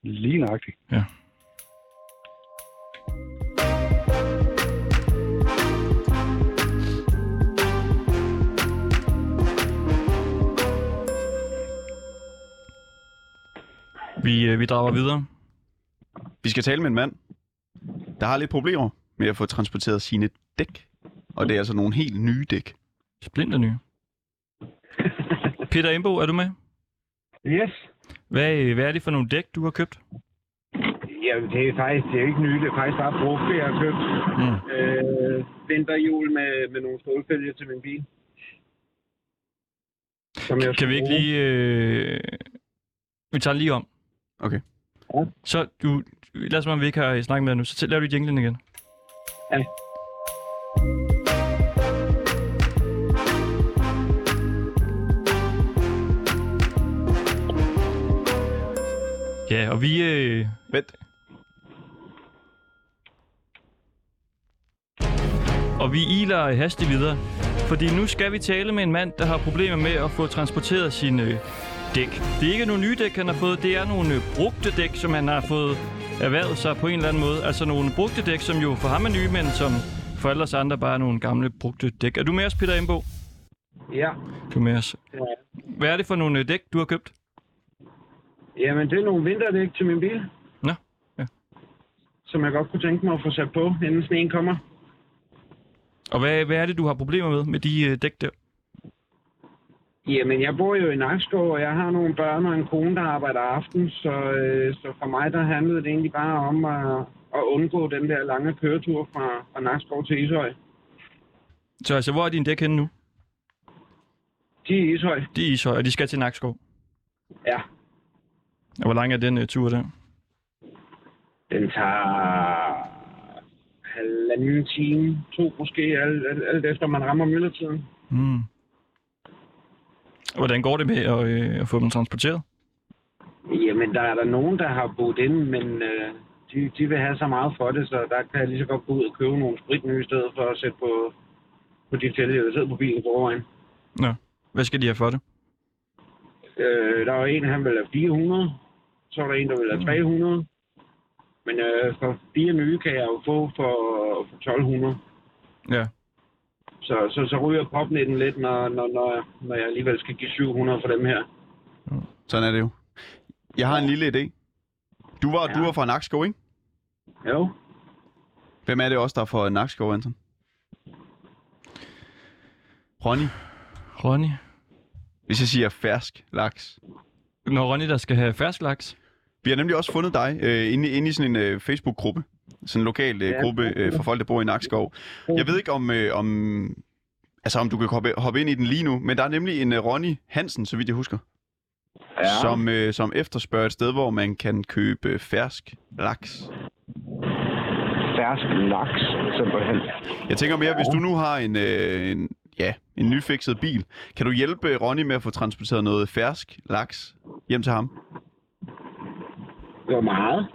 S13: Lige nøjagtigt.
S3: Ja. Vi, øh, vi drager videre.
S2: Vi skal tale med en mand, der har lidt problemer med at få transporteret sine dæk. Og det er altså nogle helt nye dæk.
S3: Splinter nye. Peter Imbo, er du med?
S14: Yes.
S3: Hvad, øh, hvad er det for nogle dæk, du har købt?
S14: Jamen, det er faktisk det er ikke nyt. Det er faktisk bare brugt, det jeg har købt.
S3: Mm.
S14: Øh, vinterhjul med, med nogle stålfælge til min bil.
S3: Kan vi ikke lige... Øh... Vi tager den lige om.
S2: Okay.
S14: Ja.
S3: Så du... Lad os om vi ikke har øh, snakket med dig nu. Så laver du jinglen igen.
S14: Ja.
S3: Ja, og vi... Øh...
S2: Vent.
S3: Og vi iler haste videre, fordi nu skal vi tale med en mand, der har problemer med at få transporteret sine øh, dæk. Det er ikke nogle nye dæk, han har fået, det er nogle øh, brugte dæk, som han har fået erhvervet sig på en eller anden måde. Altså nogle brugte dæk, som jo for ham er nye, men som for alle os andre bare er nogle gamle brugte dæk. Er du med os, Peter Imbo?
S14: Ja.
S3: Du er med os. Hvad er det for nogle øh, dæk, du har købt?
S14: Jamen, det er nogle vinterdæk til min bil.
S3: Nå, ja.
S14: Som jeg godt kunne tænke mig at få sat på, inden sneen kommer.
S3: Og hvad, hvad er det, du har problemer med, med de øh, dæk der?
S14: Jamen, jeg bor jo i Nakskov, og jeg har nogle børn og en kone, der arbejder aften, så, øh, så for mig der handlede det egentlig bare om at, at undgå den der lange køretur fra, fra Nakskov til Ishøj.
S3: Så altså, hvor er dine dæk henne nu?
S14: De er i Ishøj.
S3: De er i Ishøj, og de skal til Nakskov.
S14: Ja.
S3: Og hvor lang er den uh, tur der?
S14: Den tager halvanden time, to måske, alt, alt, alt efter man rammer myldretiden.
S3: Mm. Og hvordan går det med at, øh, at få dem transporteret?
S14: Jamen, der er der nogen, der har boet ind, men øh, de, de vil have så meget for det, så der kan jeg lige så godt gå ud og købe nogle spritnye i stedet for at sætte på, på de tælger, der sidder på bilen forvejen.
S3: Nå, hvad skal de have for det?
S14: Øh, der var en, han ville have 400. Så var der en, der ville have 300. Men øh, for fire nye kan jeg jo få for, for 1200.
S3: Ja.
S14: Så, så, så ryger popnetten lidt, når, når, når, når jeg alligevel skal give 700 for dem her.
S2: Sådan er det jo. Jeg har en lille idé. Du var, ja. du var fra Nakskov, ikke?
S14: Jo.
S2: Hvem er det også, der er fra Nakskov, Anton? Ronny.
S3: Ronny.
S2: Hvis jeg siger fersk laks.
S3: Når Ronny, der skal have fersk laks.
S2: Vi har nemlig også fundet dig øh, inde, inde i sådan en øh, Facebook-gruppe. Sådan en lokal øh,
S3: Ja.
S2: gruppe øh, for folk, der bor i Nakskov. Jeg ved ikke, om, øh, om, altså, om du kan hoppe, hoppe ind i den lige nu, men der er nemlig en øh, Ronny Hansen, så vidt jeg husker,
S10: Ja.
S2: som, øh, som efterspørger et sted, hvor man kan købe øh, fersk laks.
S11: Fersk laks, simpelthen.
S2: Jeg tænker mere, hvis du nu har en, øh, en, ja, en nyfikset bil, kan du hjælpe øh, Ronny med at få transporteret noget fersk laks hjem til ham?
S11: Hvor meget?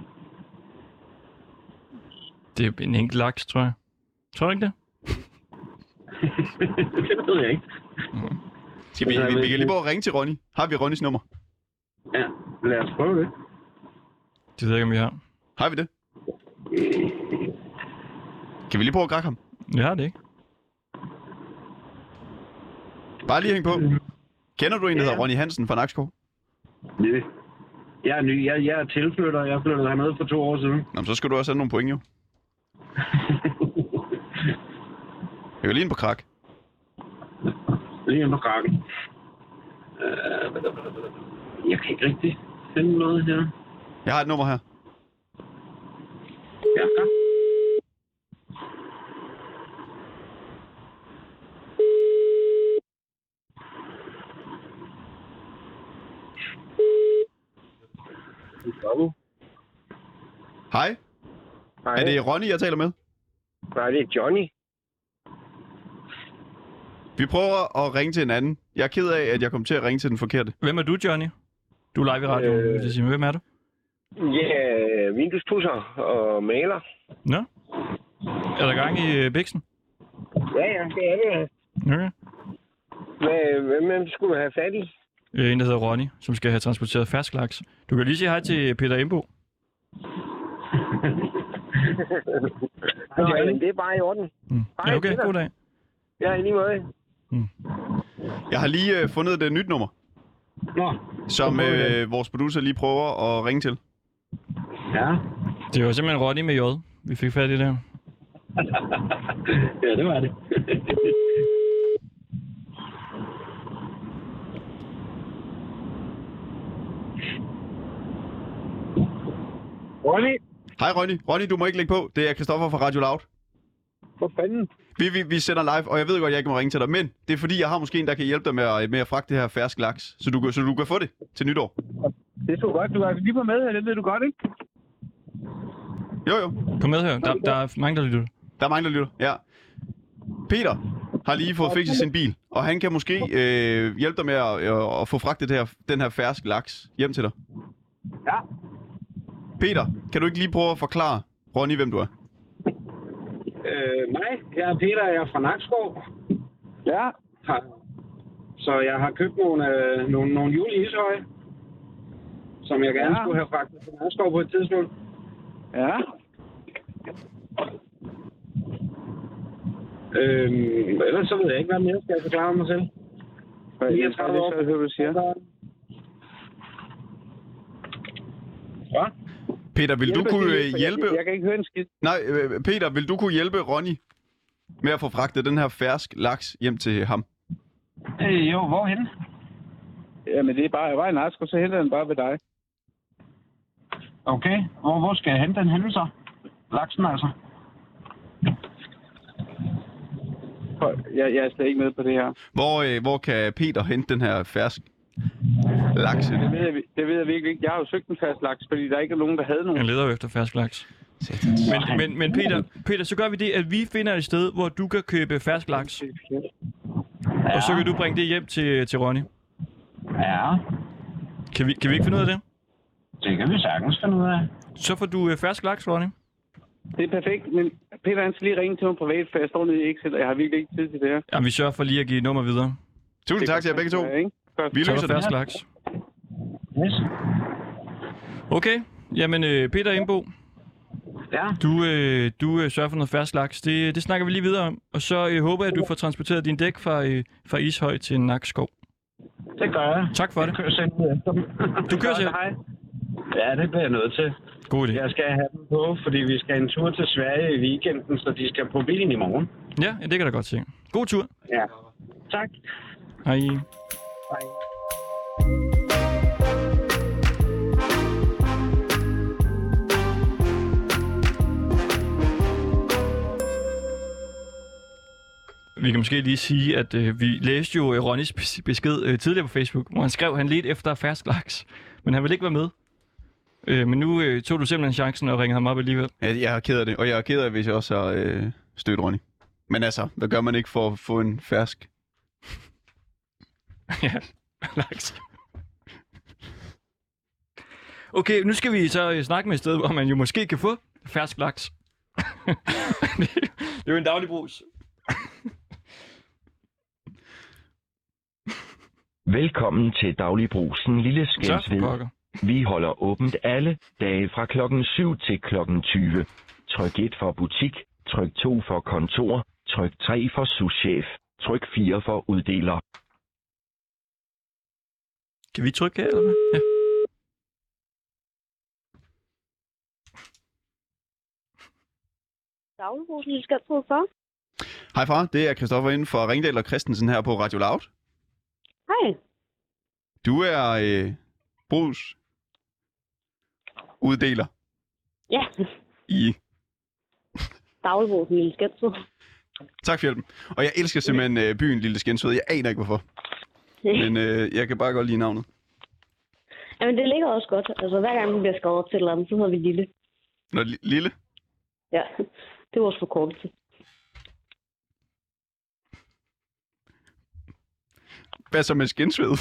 S3: Det er en enkelt laks, tror jeg. Tror du ikke det?
S11: det ved jeg ikke.
S2: Mm-hmm. Skal
S14: Altså,
S2: vi, vi, vi kan lige prøve at ringe til Ronny. Har vi Ronnys nummer?
S14: Ja, lad os prøve det.
S3: Det ved jeg ikke, om vi har.
S2: Har vi det? Kan vi lige prøve at grække ham?
S3: Jeg har det ikke.
S2: Bare lige hæng på. Kender du en, der hedder Ronny Hansen fra Nakskov?
S14: Næ. Jeg er ny. Jeg, jeg er tilflytter. Jeg flyttede hernede for to år siden.
S2: Nå, men så skal du også have nogle point, jo. Jeg vil lige ind på krak.
S14: Lige inde på krakken. Øh, jeg kan ikke rigtig finde noget her.
S2: Jeg har et nummer her.
S14: Ja, godt.
S2: Hej.
S11: Hej.
S2: Er det Ronny, jeg taler med?
S11: Nej, det er Johnny.
S2: Vi prøver at ringe til en anden. Jeg er ked af, at jeg kom til at ringe til den forkerte.
S3: Hvem er du, Johnny? Du er live i radioen, øh... vil jeg sige. Men Hvem er du?
S11: Ja, vinduespusser og maler.
S3: Nå? Er der gang i øh, Bixen?
S11: Ja, ja, det er det.
S3: Okay.
S11: Hvad- Hvem, hvem skulle du have fat i?
S3: Øh, En, der hedder Ronny, som skal have transporteret fersk laks. Du kan lige sige hej til Peter Embo.
S11: Nå, jamen, det er bare i orden.
S3: Mm.
S11: Hej,
S2: okay.
S11: Peter.
S2: God dag.
S11: Ja, i lige måde.
S2: Jeg har lige øh, fundet et øh, nyt nummer,
S14: Nå,
S2: som
S14: prøver vi
S2: øh, vores producer lige prøver at ringe til.
S14: Ja.
S3: Det var simpelthen Ronny med J, vi fik fat i der.
S14: ja, det var det.
S2: Ronny. Hej Ronny. Ronny, du må ikke lægge på. Det er Christoffer fra Radio Loud. For fanden. Vi, vi, vi sender live, og jeg ved godt, jeg ikke må ringe til dig, men det er fordi, jeg har måske en, der kan hjælpe dig med at, med at fragte det her fersk laks, så du, kan- så du kan få det til nytår.
S11: Det tror godt. Du er lige på med her, det ved du godt, ikke?
S2: Jo, jo.
S3: Kom med her. Der, der er mange, der lytter.
S2: Der er mange, der lytter, ja. Peter har lige fået fikset sin bil, og han kan måske øh, hjælpe dig med at, øh, at få fragtet det her, den her fersk laks hjem til dig.
S11: Ja.
S2: Peter, kan du ikke lige prøve at forklare Ronny, hvem du er?
S14: Øh, mig. Jeg er Peter. Jeg er fra Nakskov. Ja. Så jeg har købt nogle, øh, nogle, nogle juleishøje, som jeg gerne
S11: Ja.
S14: ja. skulle have fragtet til Nakskov på et tidspunkt.
S11: Ja.
S14: Øhm, ellers så ved jeg ikke, hvad mere skal jeg forklare om mig selv.
S11: Jeg tror, det er så, hvad du siger.
S2: Peter, vil du
S11: Hjælper
S2: kunne
S11: lige,
S2: øh,
S11: for jeg-
S2: hjælpe...
S11: jeg kan ikke høre en skid.
S2: Nej, øh, Peter, vil du kunne hjælpe Ronny med at få fragtet den her fersk laks hjem til ham?
S14: Øh, jo, hvorhen?
S11: Jamen, det er bare, jeg var i Narsko, så henter den bare ved dig.
S14: Okay. Hvor, hvor skal jeg hente den henne så? Laksen altså.
S11: Jeg, jeg er slet ikke med på det her.
S2: Hvor, øh, hvor kan Peter hente den her fersk laks? henne?
S11: Det ved jeg, det ved jeg virkelig ikke. Jeg har jo søgt en fast laks, fordi der ikke er nogen, der havde nogen.
S3: Han leder jo efter fersk laks. Men, men, men Peter, Peter, så gør vi det, at vi finder et sted, hvor du kan købe fersk laks. Og så kan du bringe det hjem til, til Ronny.
S14: Ja.
S3: Kan vi, kan vi ikke finde ud af det?
S14: Det kan vi sagtens finde ud af.
S3: Så får du øh, fersk laks, Ronny.
S11: Det er perfekt, men Peter han skal lige ringe til mig privat, for jeg står nede i Excel, og jeg har virkelig ikke tid til det her.
S3: Jamen, vi sørger for lige at give nummer videre.
S2: Tusind tak til jer begge to. Vi
S3: Så
S2: løser
S3: er der
S2: det.
S3: fersk laks. Okay, jamen øh, Peter Indbo.
S14: Ja.
S3: Du, øh, du øh, sørger for noget fersk laks. Det, det snakker vi lige videre om. Og så øh, håber jeg, at du får transporteret din dæk fra, øh, fra Ishøj til Nakskov.
S14: Det gør jeg.
S3: Tak for det.
S14: Jeg kører selv ud efter dem.
S3: Du kører selv?
S14: Hej. Ja, det bliver jeg nødt til.
S3: God idé.
S14: Jeg skal have dem på, fordi vi skal en tur til Sverige i weekenden, så de skal på bilen i morgen.
S3: Ja, ja, det kan jeg da godt se. God tur.
S14: Ja.
S15: tak.
S3: Hej.
S15: Hej.
S3: Vi kan måske lige sige, at øh, vi læste jo øh, Ronnys bes- besked øh, tidligere på Facebook, hvor han skrev, at han ledte efter fersk laks, men han ville ikke være med. Øh, men nu øh, tog du simpelthen chancen og ringede ham op alligevel.
S2: Ja, jeg er ked af det, og jeg er ked af, hvis jeg også har øh, stødt Ronny. Men altså, hvad gør man ikke for at få en fersk?
S3: ja, laks. Okay, nu skal vi så øh, snakke med et sted, hvor man jo måske kan få fersk laks. det er jo en daglig brus.
S16: Velkommen til Dagligbrusen Lille Skensved.
S3: Så, pokker.
S16: Vi holder åbent alle dage fra klokken 7 til klokken 20. Tryk 1 for butik, tryk 2 for kontor, tryk 3 for souschef, tryk 4 for uddeler.
S3: Kan vi trykke her, eller hvad? Ja.
S5: Dagligbrusen, du skal på for.
S2: Hej far, det er Christoffer inden for Ringdal og Christensen her på Radio Loud.
S15: Hej.
S2: Du er øh, brus uddeler
S15: Ja,
S2: i...
S15: dagligbrusen Lille Skensved.
S2: Tak for hjælpen. Og jeg elsker simpelthen øh, byen Lille Skensved. Jeg aner ikke hvorfor. Men øh, jeg kan bare godt lide navnet.
S15: Jamen, det ligger også godt. Altså, hver gang vi bliver skåret op til et eller andet, så hedder vi Lille.
S2: Nå, li- lille.
S15: Ja, det er vores forkortelse.
S2: Hvad så med Skensved?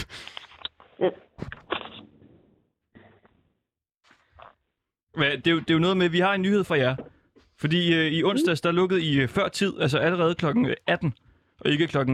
S3: Hvad, det, er jo, det er jo noget med, at vi har en nyhed for jer. Fordi øh, i onsdags, der lukkede I øh, før tid, altså allerede kl. 18, øh, og ikke kl.